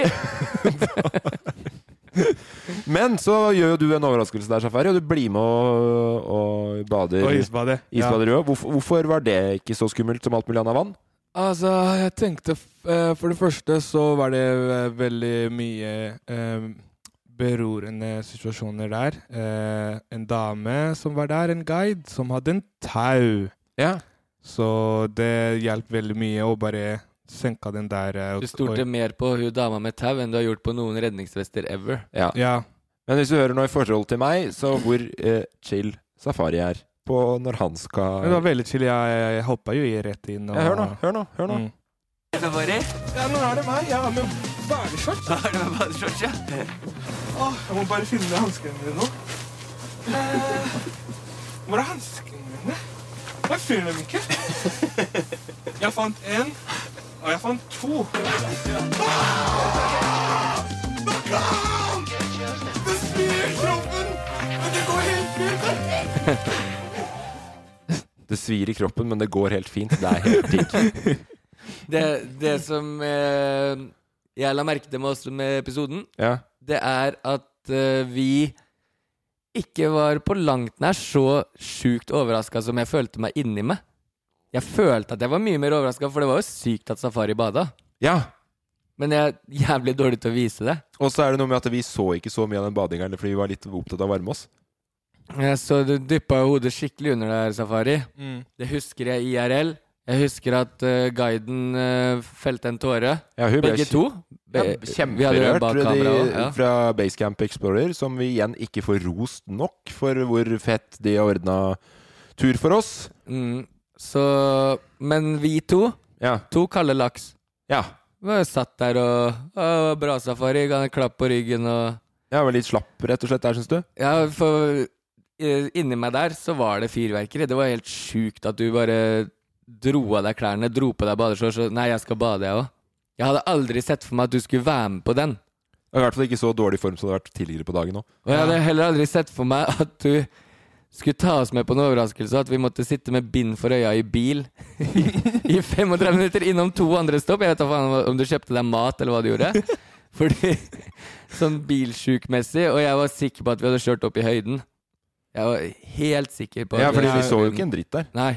Speaker 5: Men så gjør jo du en overraskelse der, Safari, og du blir med og, og bader.
Speaker 4: Og isbader, ja.
Speaker 5: Isbader du også. Hvorfor, hvorfor var det ikke så skummelt som alt mulig annet vann?
Speaker 4: Altså, jeg tenkte f- eh, For det første så var det eh, veldig mye eh, berorende situasjoner der. Eh, en dame som var der, en guide, som hadde en tau.
Speaker 5: Ja.
Speaker 4: Så det hjalp veldig mye å bare senke den der. eh, og-
Speaker 6: Du stolte
Speaker 4: og-
Speaker 6: mer på hun dama med tau enn du har gjort på noen redningsvester ever.
Speaker 5: Ja.
Speaker 4: Ja.
Speaker 5: Men hvis du hører noe i forhold til meg, så hvor eh, chill Safari er på når han
Speaker 4: Men det
Speaker 5: skal Ah.
Speaker 4: var veldig chill. Jeg, jeg, jeg hoppa jo i rett inn. Og,
Speaker 5: Ja, hør nå, hør nå, hør nå.
Speaker 4: Ja, nå er det meg. Ja, med badeshorts.
Speaker 12: Er det med badeshorts, ja?
Speaker 4: Åh, jeg må bare finne hanskene mine nå. Eh, hvor er hanskene mine? Jeg finner dem ikke. Jeg fant en, og jeg fant to.
Speaker 12: Kom! Det spyr i kroppen, men det går helt fint.
Speaker 5: Det svir i kroppen, men det går helt fint. Det er helt digg.
Speaker 6: Det, det som eh, jeg la merke til med oss med episoden,
Speaker 5: Ja.
Speaker 6: det er at eh, vi ikke var på langt nær så sjukt overraska som jeg følte meg inni meg. Jeg følte at jeg var mye mer overraska, for det var jo sykt at Safari bada.
Speaker 5: Ja.
Speaker 6: Men jeg er jævlig dårlig til å vise det.
Speaker 5: Og så er det noe med at vi så ikke så mye av den badinga eller fordi vi var litt opptatt av å varme oss.
Speaker 6: Eh, Så du dyppa jo hodet skikkelig under der, Safari.
Speaker 5: Mm.
Speaker 6: Det husker jeg IRL. Jeg husker at eh, guiden eh, felte en tåre.
Speaker 5: Ja, hun ble
Speaker 6: Begge
Speaker 5: kje-
Speaker 6: to.
Speaker 5: Ja,
Speaker 6: Be- vi hadde jo
Speaker 5: Kjemperørt
Speaker 6: bak
Speaker 5: fra de,
Speaker 6: kamera også, ja.
Speaker 5: fra Basecamp Explorer, som vi igjen ikke får rost nok for hvor fett de har ordna tur for oss.
Speaker 6: Mm, så Men vi to, to kalde laks.
Speaker 5: Ja.
Speaker 6: Vi var jo satt der og å, Bra safari, ga en klapp på ryggen og
Speaker 5: Jeg var litt slapp, rett og slett, der, syns du?
Speaker 6: Ja, for eh, inni meg der så var det fyrverkeri. Det var helt sjukt at du bare dro av deg klærne, dro på deg badeshorts og Nei, jeg skal bade, jeg òg. Jeg hadde aldri sett for meg at du skulle være med på den.
Speaker 5: Jeg var I hvert fall ikke så dårlig form som det har vært tidligere på dagen nå.
Speaker 6: Og jeg hadde heller aldri sett for meg at du skulle ta oss med på en overraskelse, at vi måtte sitte med bind for øya i bil i 35 minutter innom to andre stopp. Jeg vet da faen om du kjøpte deg mat, eller hva du gjorde. Fordi sånn bilsjukmessig, og jeg var sikker på at vi hadde kjørt opp i høyden. Jeg var helt sikker på at
Speaker 5: Ja, fordi
Speaker 6: hadde
Speaker 5: vi så jo
Speaker 6: kjørt
Speaker 5: ikke en dritt der.
Speaker 6: Nei.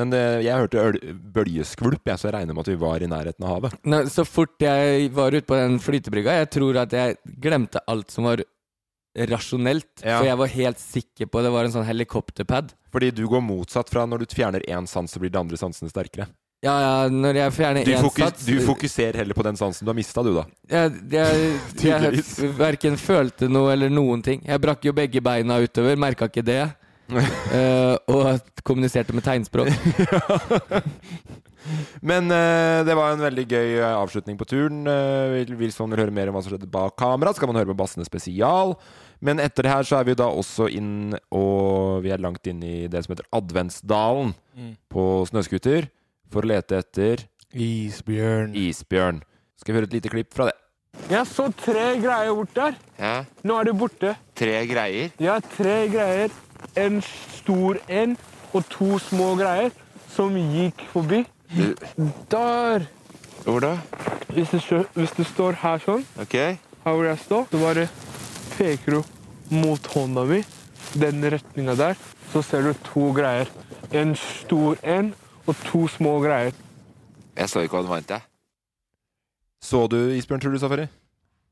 Speaker 5: Men eh, jeg hørte øl- bølgeskvulp, jeg, så jeg regner med at vi var i nærheten av havet.
Speaker 6: Nå, så fort jeg var ute på den flytebrygga, jeg tror at jeg glemte alt som var rasjonelt.
Speaker 5: Ja.
Speaker 6: For jeg var helt sikker på det var en sånn helikopterpad.
Speaker 5: Fordi du går motsatt fra når du fjerner én sans, så blir de andre sansene sterkere.
Speaker 6: Ja, ja, når jeg fjerner
Speaker 5: Du,
Speaker 6: én
Speaker 5: fokus,
Speaker 6: sats
Speaker 5: du fokuserer heller på den sansen du har mista, du, da.
Speaker 6: Jeg, jeg, jeg
Speaker 5: Tydeligvis.
Speaker 6: verken følte noe eller noen ting. Jeg brakk jo begge beina utover, merka ikke det. eh, og at kommuniserte med tegnspråk.
Speaker 5: Men eh, det var en veldig gøy eh, avslutning på turen. Eh, vil, hvis man vil høre mer om hva som skjedde bak kamera, så kan man høre på Bassene spesial. Men etter det her så er vi jo da også inn Og vi er langt inn i det som heter Adventsdalen
Speaker 4: Mm.
Speaker 5: på snøscooter for å lete etter
Speaker 4: Isbjørn.
Speaker 5: Isbjørn. Skal vi høre et lite klipp fra det?
Speaker 8: Jeg så tre greier bort der.
Speaker 5: Ja,
Speaker 8: Nå er de borte.
Speaker 5: tre greier.
Speaker 8: Jeg har tre greier. En stor en og to små greier som gikk forbi. Der!
Speaker 5: Hvor da?
Speaker 8: Hvis du, sjø- hvis du står her sånn,
Speaker 5: Ok.
Speaker 8: her hvor jeg står, så bare peker du mot hånda mi, den retninga der, så ser du to greier. En stor en og to små greier.
Speaker 5: Jeg så ikke hva den vant, jeg. Så du Isbjørn, tror du, Safari?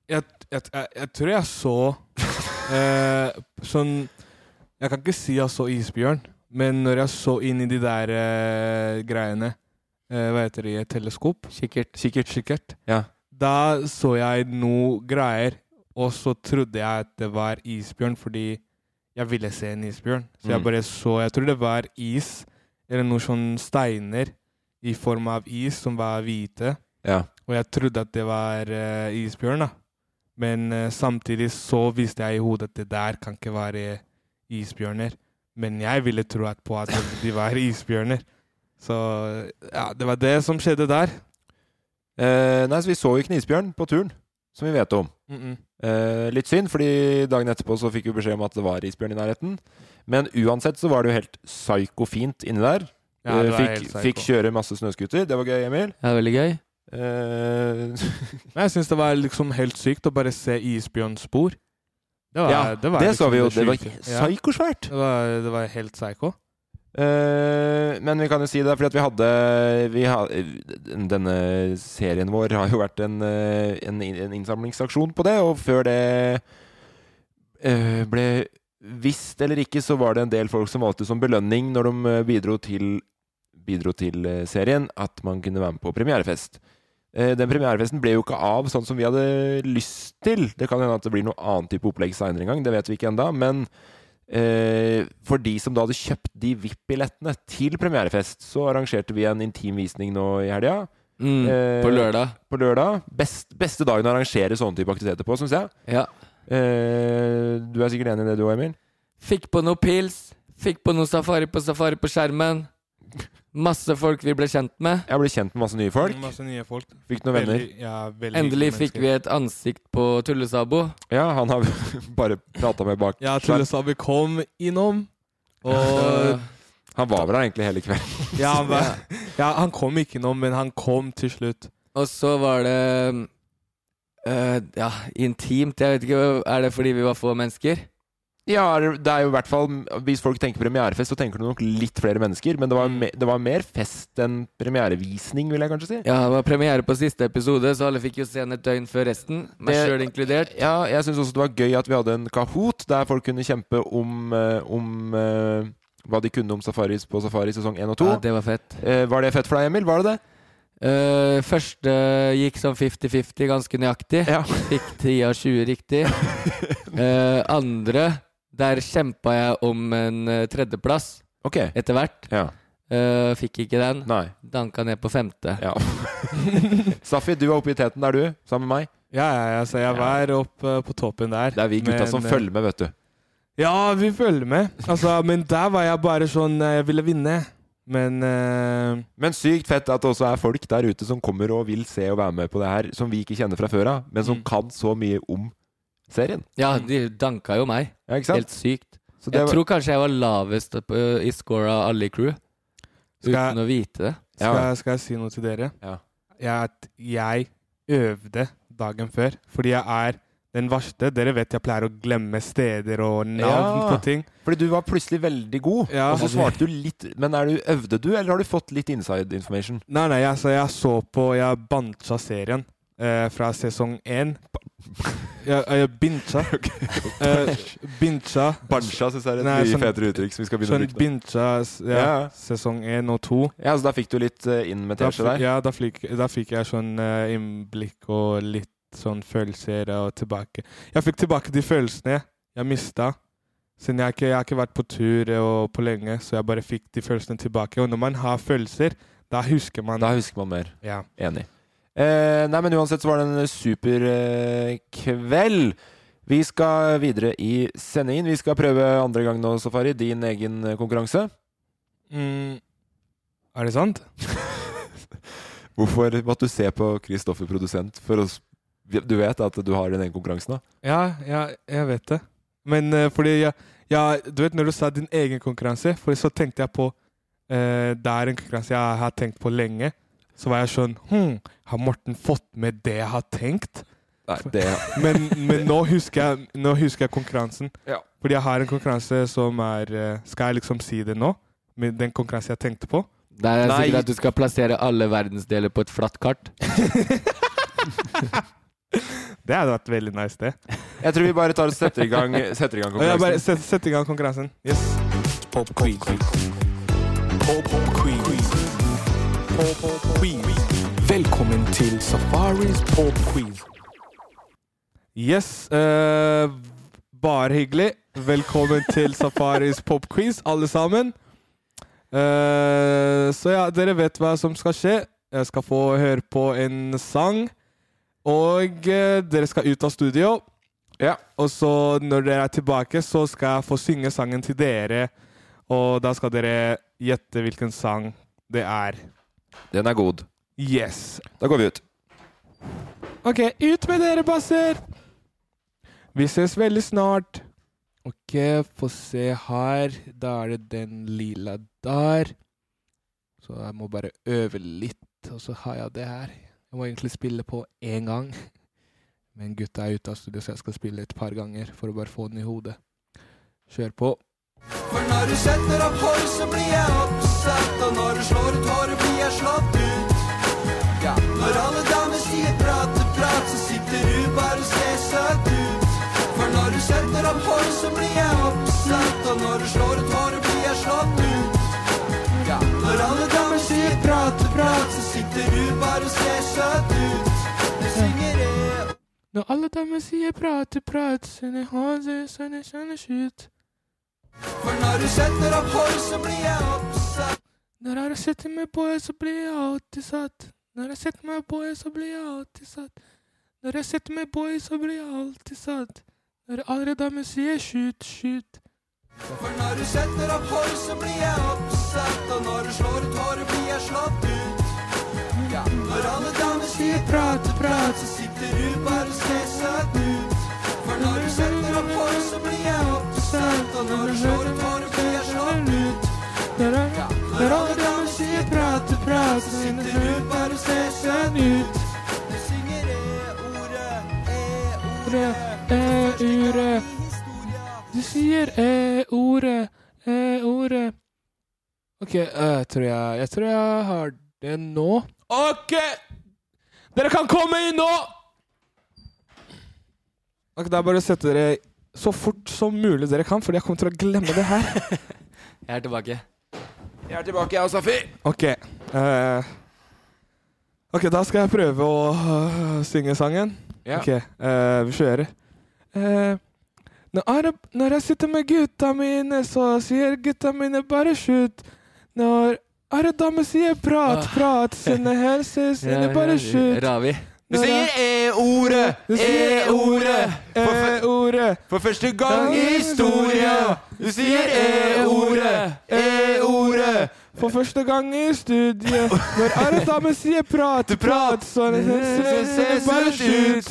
Speaker 4: jeg, jeg, jeg, jeg tror jeg så eh, sånn Jeg kan ikke si jeg så isbjørn, men når jeg så inn i de der eh, greiene eh, Hva heter det? i et Teleskop?
Speaker 6: Kikkert.
Speaker 4: Kikkert,
Speaker 5: Ja.
Speaker 4: Da så jeg noe greier, og så trodde jeg at det var isbjørn fordi jeg ville se en isbjørn. Så jeg
Speaker 5: Mm.
Speaker 4: bare så Jeg tror det var is, eller noen sånne steiner i form av is som var hvite.
Speaker 5: Ja.
Speaker 4: Og jeg trodde at det var eh, isbjørn, da. Men eh, samtidig så visste jeg i hodet at det der kan ikke være isbjørner. Men jeg ville tro at på at de var isbjørner. Så ja, det var det som skjedde der.
Speaker 5: Eh, nei, så vi så jo ikke en isbjørn på turen, som vi vet om.
Speaker 4: Mm-mm.
Speaker 5: Eh, litt synd, fordi dagen etterpå så fikk vi beskjed om at det var isbjørn i nærheten. Men uansett så var det jo helt psyko-fint inni der.
Speaker 4: Ja, det
Speaker 5: Eh,
Speaker 4: var helt
Speaker 5: fikk,
Speaker 4: psyko.
Speaker 5: fikk kjøre masse snøskuter. Det var gøy, Emil. Eh,
Speaker 6: Det er veldig gøy.
Speaker 4: Men jeg syns det var liksom helt sykt å bare se isbjørnspor. Det var,
Speaker 5: Ja,
Speaker 4: det var
Speaker 5: det
Speaker 4: liksom
Speaker 5: så vi jo. Det var
Speaker 4: sjuke.
Speaker 5: psykosvært.
Speaker 4: Ja, det, var- det var helt psyko.
Speaker 5: Eh, men vi kan jo si det, fordi at vi hadde vi ha, Denne serien vår har jo vært en, eh, en, en innsamlingsaksjon på det, og før det eh, ble visst eller ikke, så var det en del folk som valgte som belønning når de eh, bidro til, bidro til eh, serien, at man kunne være med på premierefest. Eh, Den premierefesten ble jo ikke av sånn som vi hadde lyst til. Det kan hende at det blir noe annet type opplegg seinere en gang, det vet vi ikke ennå. Men eh, for de som da hadde kjøpt de VIP-billettene til premierefest, så arrangerte vi en intim visning nå i helga.
Speaker 6: Mm,
Speaker 5: Eh.
Speaker 6: på lørdag.
Speaker 5: På lørdag. Best, beste dagen å arrangere sånne type aktiviteter på, syns jeg.
Speaker 6: Ja.
Speaker 5: Eh, du er sikkert enig i det du òg, Emil?
Speaker 6: Fikk på noe pils. Fikk på noe safari på safari på skjermen. Masse folk vi ble kjent med.
Speaker 5: Jeg ble kjent med masse nye folk.
Speaker 4: Masse nye folk.
Speaker 5: Fikk noen venner.
Speaker 4: Veldig- ja, veldig hyggelige
Speaker 6: Endelig fikk
Speaker 4: mennesker.
Speaker 6: vi et ansikt på Tullesabo.
Speaker 5: Ja, han har bare prata med bak
Speaker 4: Ja, Tullesabi kom innom, og
Speaker 5: Han var vel her egentlig hele kvelden.
Speaker 4: ja han, var, ja, han kom ikke innom, men han kom til slutt.
Speaker 6: Og så var det eh, Ja, intimt. Jeg vet ikke, Er det fordi vi var få mennesker?
Speaker 5: Ja, det er jo i hvert fall Hvis folk tenker premierefest, så tenker du nok litt flere mennesker. Men det var, me, det var mer fest enn premierevisning, vil jeg kanskje si.
Speaker 6: Ja, Det var premiere på siste episode, så alle fikk jo se den et døgn før resten. Meg
Speaker 5: Det-
Speaker 6: sjøl inkludert.
Speaker 5: Ja, jeg syns også det var gøy at vi hadde en Kahoot der folk kunne kjempe om, eh, om eh, hva de kunne om safaris på safari sesong 1 og 2.
Speaker 6: Ja, det var fett.
Speaker 5: Eh, var det fett for deg, Emil? Var det det?
Speaker 6: Eh, første gikk sånn 50-50, ganske nøyaktig. Fikk 10 av 20 riktig. Eh, andre, der kjempa jeg om en eh, tredjeplass
Speaker 5: Ok.
Speaker 6: etter hvert.
Speaker 5: Ja.
Speaker 6: Eh, fikk ikke den.
Speaker 5: Nei.
Speaker 6: Danka ned på femte.
Speaker 5: Safi, du var oppe i teten der, du. Sammen med meg.
Speaker 4: Ja, ja, ja, så jeg var oppe på toppen der.
Speaker 5: Det er vi gutta
Speaker 4: Men,
Speaker 5: som
Speaker 4: eh,
Speaker 5: følger med, vet du.
Speaker 4: Ja, vi følger med. Altså, men der var jeg bare sånn eh, Jeg ville vinne. Men eh,
Speaker 5: Men sykt fett at det også er folk der ute som kommer og vil se og være med på det her, som vi ikke kjenner fra før av, men
Speaker 6: Mm.
Speaker 5: som kan så mye om serien.
Speaker 6: Ja, de danka jo meg.
Speaker 5: ikke sant?
Speaker 6: Helt sykt.
Speaker 5: Så det
Speaker 6: Jeg
Speaker 5: var-
Speaker 6: tror kanskje jeg var lavest opp, ø, i score av alle i crew.
Speaker 4: Skal jeg-
Speaker 6: Uten å vite det.
Speaker 4: skal, jeg, skal jeg si noe til dere? Jeg, at jeg øvde dagen før, fordi jeg er den verste. Dere vet jeg pleier å glemme steder og navn
Speaker 5: Ja.
Speaker 4: på ting.
Speaker 5: Fordi du var plutselig veldig god,
Speaker 4: Ja.
Speaker 5: og så svarte du litt Men er du, øvde du, eller har du fått litt inside information?
Speaker 4: Nei, nei, jeg, så jeg så på Jeg bantsa serien eh, fra sesong én. Jeg, jeg bincha. Eh, bincha.
Speaker 5: Bansja syns jeg er et
Speaker 4: Nei,
Speaker 5: mye
Speaker 4: sånn-
Speaker 5: fetere uttrykk som vi skal begynne å
Speaker 4: sånn
Speaker 5: bruke nå.
Speaker 4: Bincha, s- ja,
Speaker 5: Ja, ja.
Speaker 4: sesong én og to.
Speaker 5: Ja, så da fikk du litt eh, inn med
Speaker 4: Da
Speaker 5: teskje
Speaker 4: fikk,
Speaker 5: der?
Speaker 4: ja, da fikk, da fikk jeg sånn eh, innblikk og litt sånn følelser og tilbake. Jeg fikk tilbake de følelsene jeg mista Siden jeg, har ikke, jeg har ikke vært på tur eh, og på lenge, så jeg bare fikk de følelsene tilbake. Og når man har følelser, da husker man
Speaker 5: Da husker man mer.
Speaker 4: Ja.
Speaker 5: Enig. Eh, nei, men uansett så var det en super eh, kveld. Vi skal videre i sendingen. Vi skal prøve andre gang nå, Safari, din egen eh, konkurranse.
Speaker 4: Mm. Er det sant?
Speaker 5: Hvorfor måtte du se på Kristoffer produsent for oss? Du vet at du har din egen konkurranse nå?
Speaker 4: Ja, ja, jeg vet det. Men eh, fordi jeg, jeg- Du vet når du sa din egen konkurranse, for så tenkte jeg på eh, Det er en konkurranse jeg har tenkt på lenge. Så var jeg sånn hm, Har Morten fått med det jeg har tenkt?
Speaker 5: Nei, det-
Speaker 4: men, men nå husker jeg, nå husker jeg konkurransen.
Speaker 5: Ja.
Speaker 4: Fordi jeg har en konkurranse som er eh, Skal jeg liksom si det nå? Med den konkurransen jeg tenkte på?
Speaker 6: Det er sikkert at du skal plassere alle verdensdeler på et flatt kart.
Speaker 4: Det hadde vært veldig nice, det.
Speaker 5: Jeg tror vi bare tar og setter i gang, setter i gang
Speaker 4: Og jeg bare
Speaker 5: konkurransen.
Speaker 4: set, setter i gang konkurransen. Yes.
Speaker 7: Velkommen til Safaris popquiz.
Speaker 4: Yes. eh, bare hyggelig. Velkommen til Safaris popquiz, alle sammen. Eh, så ja, dere vet hva som skal skje. Jeg skal få høre på en sang. Og eh, dere skal ut av studio. Ja. Og så når dere er tilbake, så skal jeg få synge sangen til dere. Og da skal dere gjette hvilken sang det er.
Speaker 5: Den er god.
Speaker 4: Yes.
Speaker 5: Da går vi ut.
Speaker 4: Ok, ut med dere, basser! Vi ses veldig snart. Ok, få se her. Da er det den lila der. Så jeg må bare øve litt, og så har jeg det her. Jeg må egentlig spille på én gang. Men gutta er ute av studio, så jeg skal spille et par ganger for å bare få den i hodet. Kjør på.
Speaker 12: For når du setter opp hår, så blir jeg oppsatt. Og når du slår ut håret, blir jeg slått ut. Ja. Når alle damer sier prate, prat, så sitter du bare og ser søt ut. For når du setter opp hår, så blir jeg oppsatt. Og når du slår ut håret, blir jeg slått ut. Ja. Når alle damer sier prate, prat, så sitter du bare og ser søt ut. Det synger jeg.
Speaker 4: Når alle damer sier prate, prat, sender håndser, sender kjenner skyt.
Speaker 12: For når du setter opp hår, så blir jeg oppsatt.
Speaker 4: Når jeg setter meg på, så blir jeg alltid satt. Når jeg setter meg på, så blir jeg alltid satt. Når jeg setter meg på, så blir jeg alltid satt. Når alle damer sier skyt, skyt.
Speaker 12: For når du setter opp hår, så blir jeg oppsatt. Og når du slår ut håret, blir jeg slått ut. Ja. Når alle damer sier prate, prat, så sitter du bare og ser søt ut. For når du setter opp hår, så blir jeg oppsatt. Og når du slår ut håret, blir jeg slått ut. Ja. Når alle damer sier prate, prat, så sitter du bare og ser søt ut. Jeg synger E e-ordet,
Speaker 6: E
Speaker 4: E-ordet. Du sier
Speaker 6: E
Speaker 4: e-ordet, e-ordet. Ok, eh, jeg tror jeg, jeg tror jeg har det nå. Ok! Dere kan komme inn nå! Ok, Da er bare å sette dere så fort som mulig dere kan, fordi jeg kommer til å glemme det her.
Speaker 6: Jeg er tilbake.
Speaker 5: Jeg er tilbake, jeg og Safi.
Speaker 4: Ok. eh, ok, da skal jeg prøve å øh, synge sangen.
Speaker 5: Ja.
Speaker 4: Ok, eh, vi kjører. Eh, når, Arab, når jeg sitter med gutta mine, så sier gutta mine bare shoot. Når alle damer sier prat, prat, sine helser, sine bare shoot.
Speaker 6: Ravi.
Speaker 4: Når jeg-
Speaker 5: E-ordet,
Speaker 4: Du
Speaker 5: E
Speaker 4: sier E
Speaker 5: E-ordet.
Speaker 4: E-ordet.
Speaker 5: For første gang i historien. Du sier
Speaker 6: E
Speaker 12: E
Speaker 5: E-ordet, E-ordet.
Speaker 4: For første gang i studiet Når alle damer sier prat, prat, så er det bare shoot.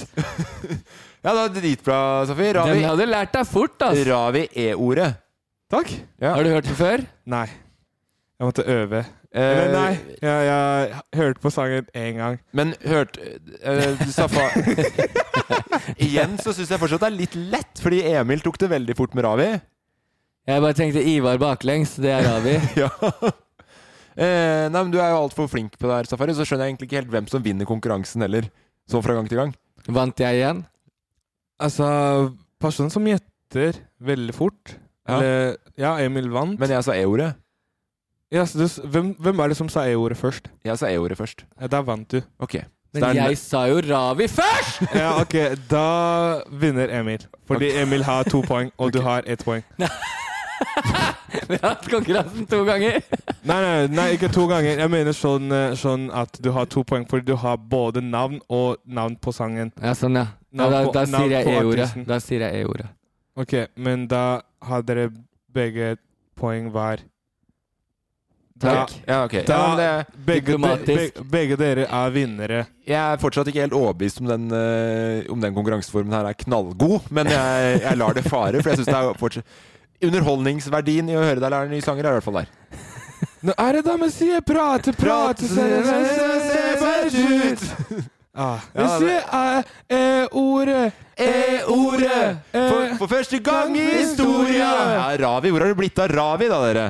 Speaker 5: Ja, det var dritbra, Safi. Ravi.
Speaker 6: Den hadde lært deg fort, ass.
Speaker 5: Ravi E-ordet.
Speaker 4: Takk.
Speaker 6: Har du hørt den før?
Speaker 4: Nei. Jeg måtte øve.
Speaker 5: Eh,
Speaker 4: Eller nei, jeg, jeg hørte på sangen én gang.
Speaker 5: Men hørt eh, Safa Igjen så syns jeg fortsatt det er litt lett, fordi Emil tok det veldig fort med Ravi.
Speaker 6: Jeg bare tenkte Ivar baklengs, det er Ravi.
Speaker 5: ja. Eh, nei, men Du er jo altfor flink på det her, Safari, så skjønner jeg egentlig ikke helt hvem som vinner konkurransen heller. Sånn fra gang til gang.
Speaker 6: Vant jeg igjen?
Speaker 4: Altså, personen som gjetter veldig fort
Speaker 5: Ja.
Speaker 4: Eller Ja, Emil vant.
Speaker 5: Men jeg sa E-ordet.
Speaker 4: Ja, så du, s- hvem, hvem er det som sa E-ordet først?
Speaker 5: Jeg sa E-ordet først.
Speaker 4: Ja, der vant du.
Speaker 5: Ok.
Speaker 6: Men jeg sa jo Ravi først!
Speaker 4: Ja, ok, da vinner Emil. Fordi Emil har to poeng, og du har ett poeng.
Speaker 6: Vi har hatt konkurransen to ganger.
Speaker 4: Nei, nei, nei, ikke to ganger. Jeg mener sånn, eh, sånn at du har to poeng, fordi du har både navn og navn på sangen.
Speaker 6: Ja, sånn, ja. Ja,
Speaker 4: Navn
Speaker 6: da,
Speaker 4: på-
Speaker 6: da
Speaker 4: navn
Speaker 6: sier jeg
Speaker 4: på
Speaker 6: E-ordet.
Speaker 4: artisten.
Speaker 6: Da sier jeg E-ordet.
Speaker 4: Ok, men da har dere begge poeng hver.
Speaker 5: Takk. Ja, ok.
Speaker 4: Da
Speaker 5: Ja, men det-
Speaker 4: begge, de,
Speaker 5: Diplomatisk.
Speaker 4: be- begge dere er vinnere.
Speaker 5: Jeg er fortsatt ikke helt overbevist om den, eh, om den konkurranseformen her er knallgod, men jeg, jeg lar det fare, for jeg syns det er fortsatt Underholdningsverdien i å høre deg lære nye sanger er i hvert fall der.
Speaker 4: Nå er det da vi sier prate, prate, se, se, se, se, bare ut. Ah, vi
Speaker 5: Ja, det-
Speaker 4: sier eh, E-ordet.
Speaker 5: E-ordet. For, for første gang i historia! Ja, Ravi, hvor har det blitt av Ravi, da, dere?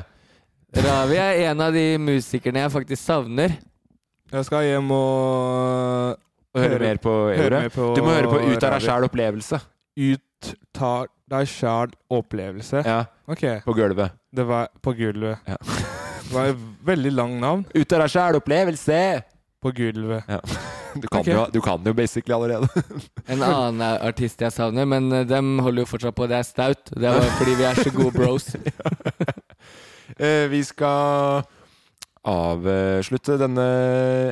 Speaker 6: Ravi er en av de musikerne jeg faktisk savner.
Speaker 4: Jeg skal hjem og
Speaker 5: Og høre mer på
Speaker 4: høre
Speaker 5: E-ordet.
Speaker 4: mer på
Speaker 5: Du må høre på Ut av deg
Speaker 4: radio.
Speaker 5: sjæl opplevelse.
Speaker 4: Ut tar deg sjæl opplevelse.
Speaker 5: Ja.
Speaker 4: Ok.
Speaker 5: På gulvet.
Speaker 4: Det var på gulvet. det var et veldig langt navn.
Speaker 5: Ut av deg sjæl opplevelse!
Speaker 4: På gulvet.
Speaker 5: Ja. Du kan,
Speaker 6: Ok.
Speaker 5: jo, du kan jo basically allerede.
Speaker 6: En annen artist jeg savner, men eh, dem holder jo fortsatt på. Det er Staut. Det er fordi vi er så gode bros.
Speaker 5: Eh, Vi skal avslutte denne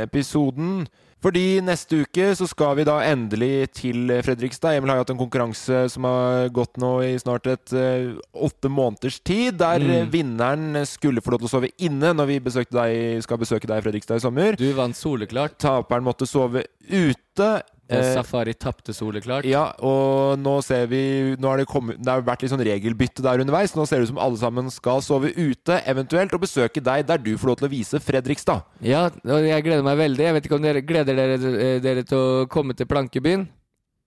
Speaker 5: episoden. Fordi neste uke så skal vi da endelig til Fredrikstad. Emil har jo hatt en konkurranse som har gått nå i snart et eh, åtte måneders tid, der
Speaker 6: Mm.
Speaker 5: eh, vinneren skulle få lov til å sove inne når vi besøkte deg, skal besøke deg i Fredrikstad i sommer.
Speaker 6: Du vant soleklart.
Speaker 5: Taperen måtte sove ute.
Speaker 6: Og
Speaker 5: Eh,
Speaker 6: Safari tapte soleklart.
Speaker 5: ja, og nå ser vi Nå har det, kommet, det har vært litt sånn regelbytte der underveis. Nå ser det ut som alle sammen skal sove ute, eventuelt, og besøke deg der du får lov til å vise Fredrikstad.
Speaker 6: Ja, og jeg gleder meg veldig. Jeg vet ikke om dere gleder dere, eh, dere til å komme til Plankebyen?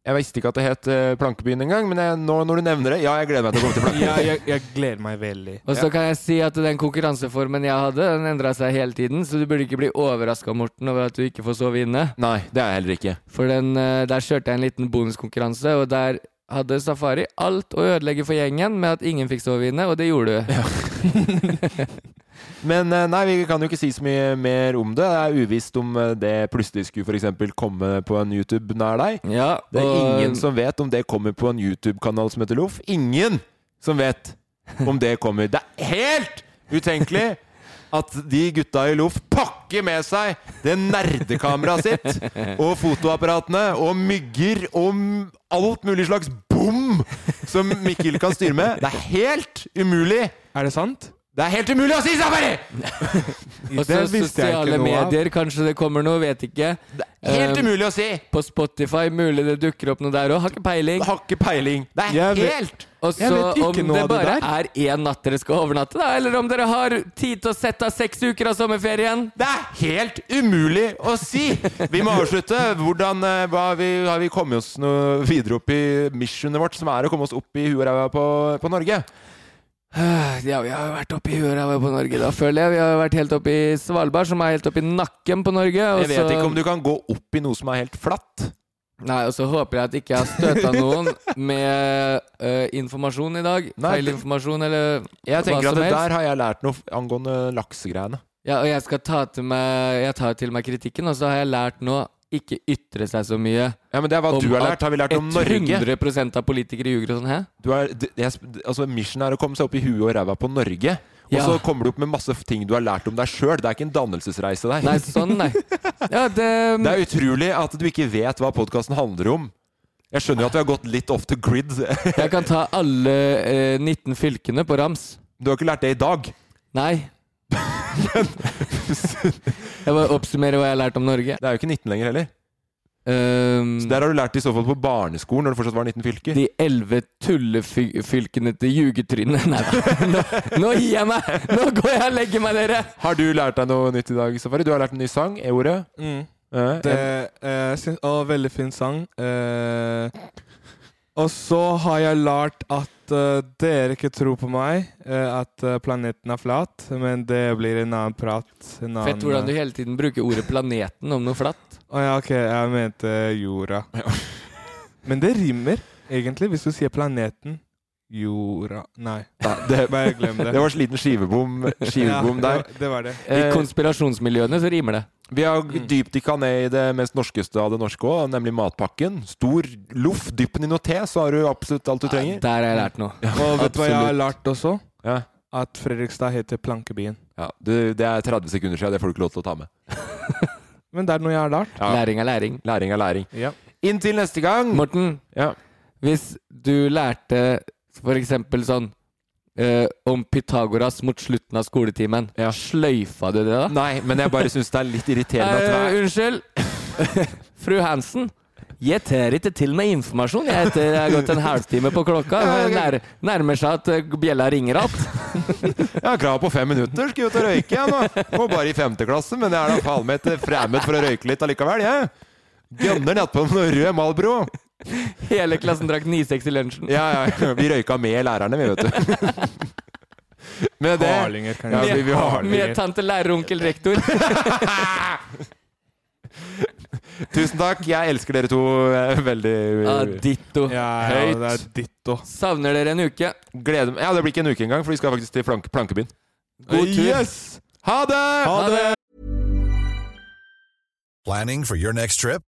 Speaker 5: Jeg visste ikke at det het eh, Plankebyen engang, men jeg, nå når du nevner det Ja, jeg gleder meg til å komme til Plankebyen.
Speaker 4: Ja, jeg, jeg gleder meg veldig.
Speaker 6: Og så kan jeg si at den konkurranseformen jeg hadde, den endra seg hele tiden, så du burde ikke bli overraska, Morten, over at du ikke får sove inne.
Speaker 5: Nei, det er jeg heller ikke.
Speaker 6: For den, eh, der kjørte jeg en liten bonuskonkurranse, og der hadde Safari alt å ødelegge for gjengen med at ingen fikk sove inne, og det gjorde du.
Speaker 5: Men eh, nei, vi kan jo ikke si så mye mer om det. Det er uvisst om eh, det plutselig skulle f.eks. komme på en YouTube nær deg.
Speaker 6: Ja,
Speaker 5: Det er
Speaker 6: og-
Speaker 5: ingen som vet om det kommer på en YouTube-kanal som heter Loff. Ingen som vet om det kommer. Det er helt utenkelig at de gutta i Loff pakker med seg det nerdekameraet sitt og fotoapparatene og mygger og m- alt mulig slags bom som Mikkel kan styre med. Det er helt umulig.
Speaker 4: Er det sant?
Speaker 5: Det er helt umulig å si, Safari!
Speaker 6: Og så
Speaker 4: Det visste jeg ikke
Speaker 6: sosiale
Speaker 4: noe av.
Speaker 6: medier, kanskje det kommer noe, vet ikke.
Speaker 5: Helt
Speaker 6: Eh,
Speaker 5: umulig å si!
Speaker 6: På Spotify, mulig det dukker opp noe der òg. Har ikke peiling.
Speaker 5: Har ikke peiling. Det
Speaker 4: Jeg
Speaker 5: er
Speaker 4: vet-
Speaker 5: helt
Speaker 6: Og
Speaker 4: Jeg
Speaker 6: så
Speaker 4: vet ikke
Speaker 6: om
Speaker 4: noe
Speaker 6: det
Speaker 4: av det
Speaker 6: bare
Speaker 4: der.
Speaker 6: er én natt dere skal overnatte, da, eller om dere har tid til å sette av seks uker av sommerferien.
Speaker 5: Det er helt umulig å si! Vi må avslutte. Hvordan eh, hva har vi, Har vi kommet oss noe videre opp i missionet vårt, som er å komme oss opp i huet og ræva på, på Norge?
Speaker 6: Øh, Ja, vi har jo vært oppe i huet her på Norge, da, føler jeg. Vi har jo vært helt oppe i Svalbard, som er helt oppe i nakken på Norge. og
Speaker 5: Jeg vet
Speaker 6: så-
Speaker 5: ikke om du kan gå opp i noe som er helt flatt.
Speaker 6: Nei, og så håper jeg at ikke jeg har støta noen med eh, informasjon i dag.
Speaker 5: Nei,
Speaker 6: Feil
Speaker 5: det-
Speaker 6: informasjon, eller
Speaker 5: Jeg tenker
Speaker 6: hva
Speaker 5: at
Speaker 6: som
Speaker 5: det
Speaker 6: helst.
Speaker 5: der har jeg lært noe angående laksegreiene.
Speaker 6: Ja, og jeg skal ta til meg Jeg tar til meg kritikken, og så har jeg lært nå ikke ytre seg så mye.
Speaker 5: Ja, men det er hva
Speaker 6: Om
Speaker 5: du har
Speaker 6: at
Speaker 5: lært. Har vi lært om Norge?
Speaker 6: 100 av politikere ljuger og sånn, hæ?
Speaker 5: Du er, d- jeg, sp- altså, mission er å komme seg opp i huet og ræva på Norge. Og
Speaker 6: Ja.
Speaker 5: så kommer du opp med masse ting du har lært om deg sjøl. Det er ikke en dannelsesreise der.
Speaker 6: Nei, sånn, nei. Ja, det,
Speaker 5: Det er utrolig at du ikke vet hva podkasten handler om. Jeg skjønner jo at vi har gått litt off the grid. Du
Speaker 6: Jeg kan ta alle eh, 19 fylkene på rams.
Speaker 5: har ikke lært det i dag.
Speaker 6: Nei. Jeg bare oppsummerer hva jeg har lært om Norge.
Speaker 5: Det er jo ikke 19 lenger heller.
Speaker 6: Um,
Speaker 5: Så Der har du lært det i så fall på barneskolen, når det fortsatt var 19 fylker.
Speaker 6: de elleve tullefylkene til jugetrynet. Nei da. Nå, nå gir jeg meg! Nå går jeg og legger meg, dere!
Speaker 5: Har du lært deg noe nytt i dag, Safari? Du har lært en ny sang, E-ordet.
Speaker 4: Mm.
Speaker 5: Eh,
Speaker 4: Det,
Speaker 5: en-
Speaker 4: eh, syns- å, veldig fin sang. Eh, og så har jeg lært at eh, dere ikke tror på meg, eh, at eh, planeten er flat. Men det blir en annen prat. En annen, eh,
Speaker 6: Fett hvordan du
Speaker 5: eh,
Speaker 6: hele tiden bruker ordet 'planeten' om noe flatt.
Speaker 4: Å ja, ok, jeg mente jorda. Men det rimer, egentlig, hvis du sier planeten. jorda Nei.
Speaker 5: Nei, det-
Speaker 4: Bare glem det.
Speaker 5: Det var sliten skivebom, skivebom
Speaker 4: Ja,
Speaker 5: der.
Speaker 4: det var- det var det.
Speaker 6: I
Speaker 5: Eh,
Speaker 6: konspirasjondsmiljøene så rimer det.
Speaker 5: Vi har dypdykka ned i det mest norskeste av det norske òg, nemlig matpakken. Stor loff, dypp den i noe te, så har du absolutt alt du trenger.
Speaker 6: Der har jeg lært noe.
Speaker 4: Og vet du hva jeg har
Speaker 5: Absolutt.
Speaker 4: lært også?
Speaker 5: Ja.
Speaker 4: At Fredrikstad heter Plankebyen.
Speaker 5: Ja, du, det er 30 sekunder siden, det får du ikke lov til å ta med.
Speaker 4: Men det er noe jeg har lært.
Speaker 5: Ja.
Speaker 6: Læring er læring.
Speaker 5: Læring er læring.
Speaker 4: Ja.
Speaker 5: Inntil neste gang!
Speaker 6: Morten,
Speaker 5: Ja.
Speaker 6: hvis du lærte for eksempel sånn eh, om Pythagoras mot slutten av skoletimen, sløyfa du det da?
Speaker 5: Nei, men jeg bare syns det er litt irriterende at
Speaker 6: Eh,
Speaker 5: hver
Speaker 6: unnskyld. Fru Hansen. Jeg tør ikke til med informasjon. Jeg, etter, jeg har gått en halvtime på klokka. Det Nær, nærmer seg at eh, bjella ringer igjen.
Speaker 5: Jeg har krav på fem minutter, skal jeg ut og røyke jeg nå. Og bare i femte klasse, men jeg er da faen meg ikke fremmed for å røyke litt allikevel, jeg. Gønner nedpå med noe rød Malbro.
Speaker 6: Hele klassen drakk 9-6 i lunsjen.
Speaker 5: Ja, ja, vi røyka med lærerne, vi, vet du. Med det
Speaker 4: Harlinger, kan
Speaker 5: ja,
Speaker 4: jeg
Speaker 5: vi,
Speaker 4: si.
Speaker 5: vi
Speaker 6: Med
Speaker 5: harlinger.
Speaker 6: tante lærer og onkel rektor.
Speaker 5: Tusen takk. Jeg elsker dere to eh, veldig
Speaker 6: Ah, ditto.
Speaker 4: Ja, ja,
Speaker 5: høyt.
Speaker 4: det er ditto.
Speaker 6: Savner dere en uke.
Speaker 5: Gleder meg. Ja, det blir ikke en uke engang, for vi skal faktisk til plank plankebyen.
Speaker 6: God tur.
Speaker 5: Yes! Ha det!
Speaker 6: Ha det!
Speaker 13: Planning for your next trip?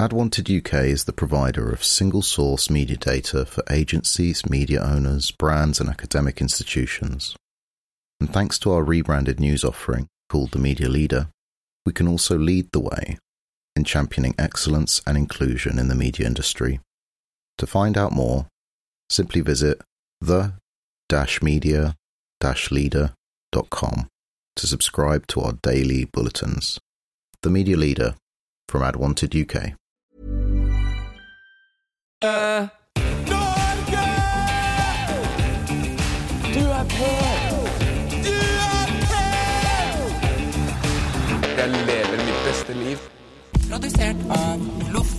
Speaker 14: AdWanted UK is the provider of single source media data for agencies, media owners, brands, and academic institutions. And thanks to our rebranded news offering called The Media Leader, we can also lead the way in championing excellence and inclusion in the media industry. To find out more, simply visit the media leader.com to subscribe to our daily bulletins. The Media Leader from AdWanted UK.
Speaker 12: Du er på! Du er på!
Speaker 11: Jeg lever mitt beste liv.
Speaker 12: Produsert av Loff.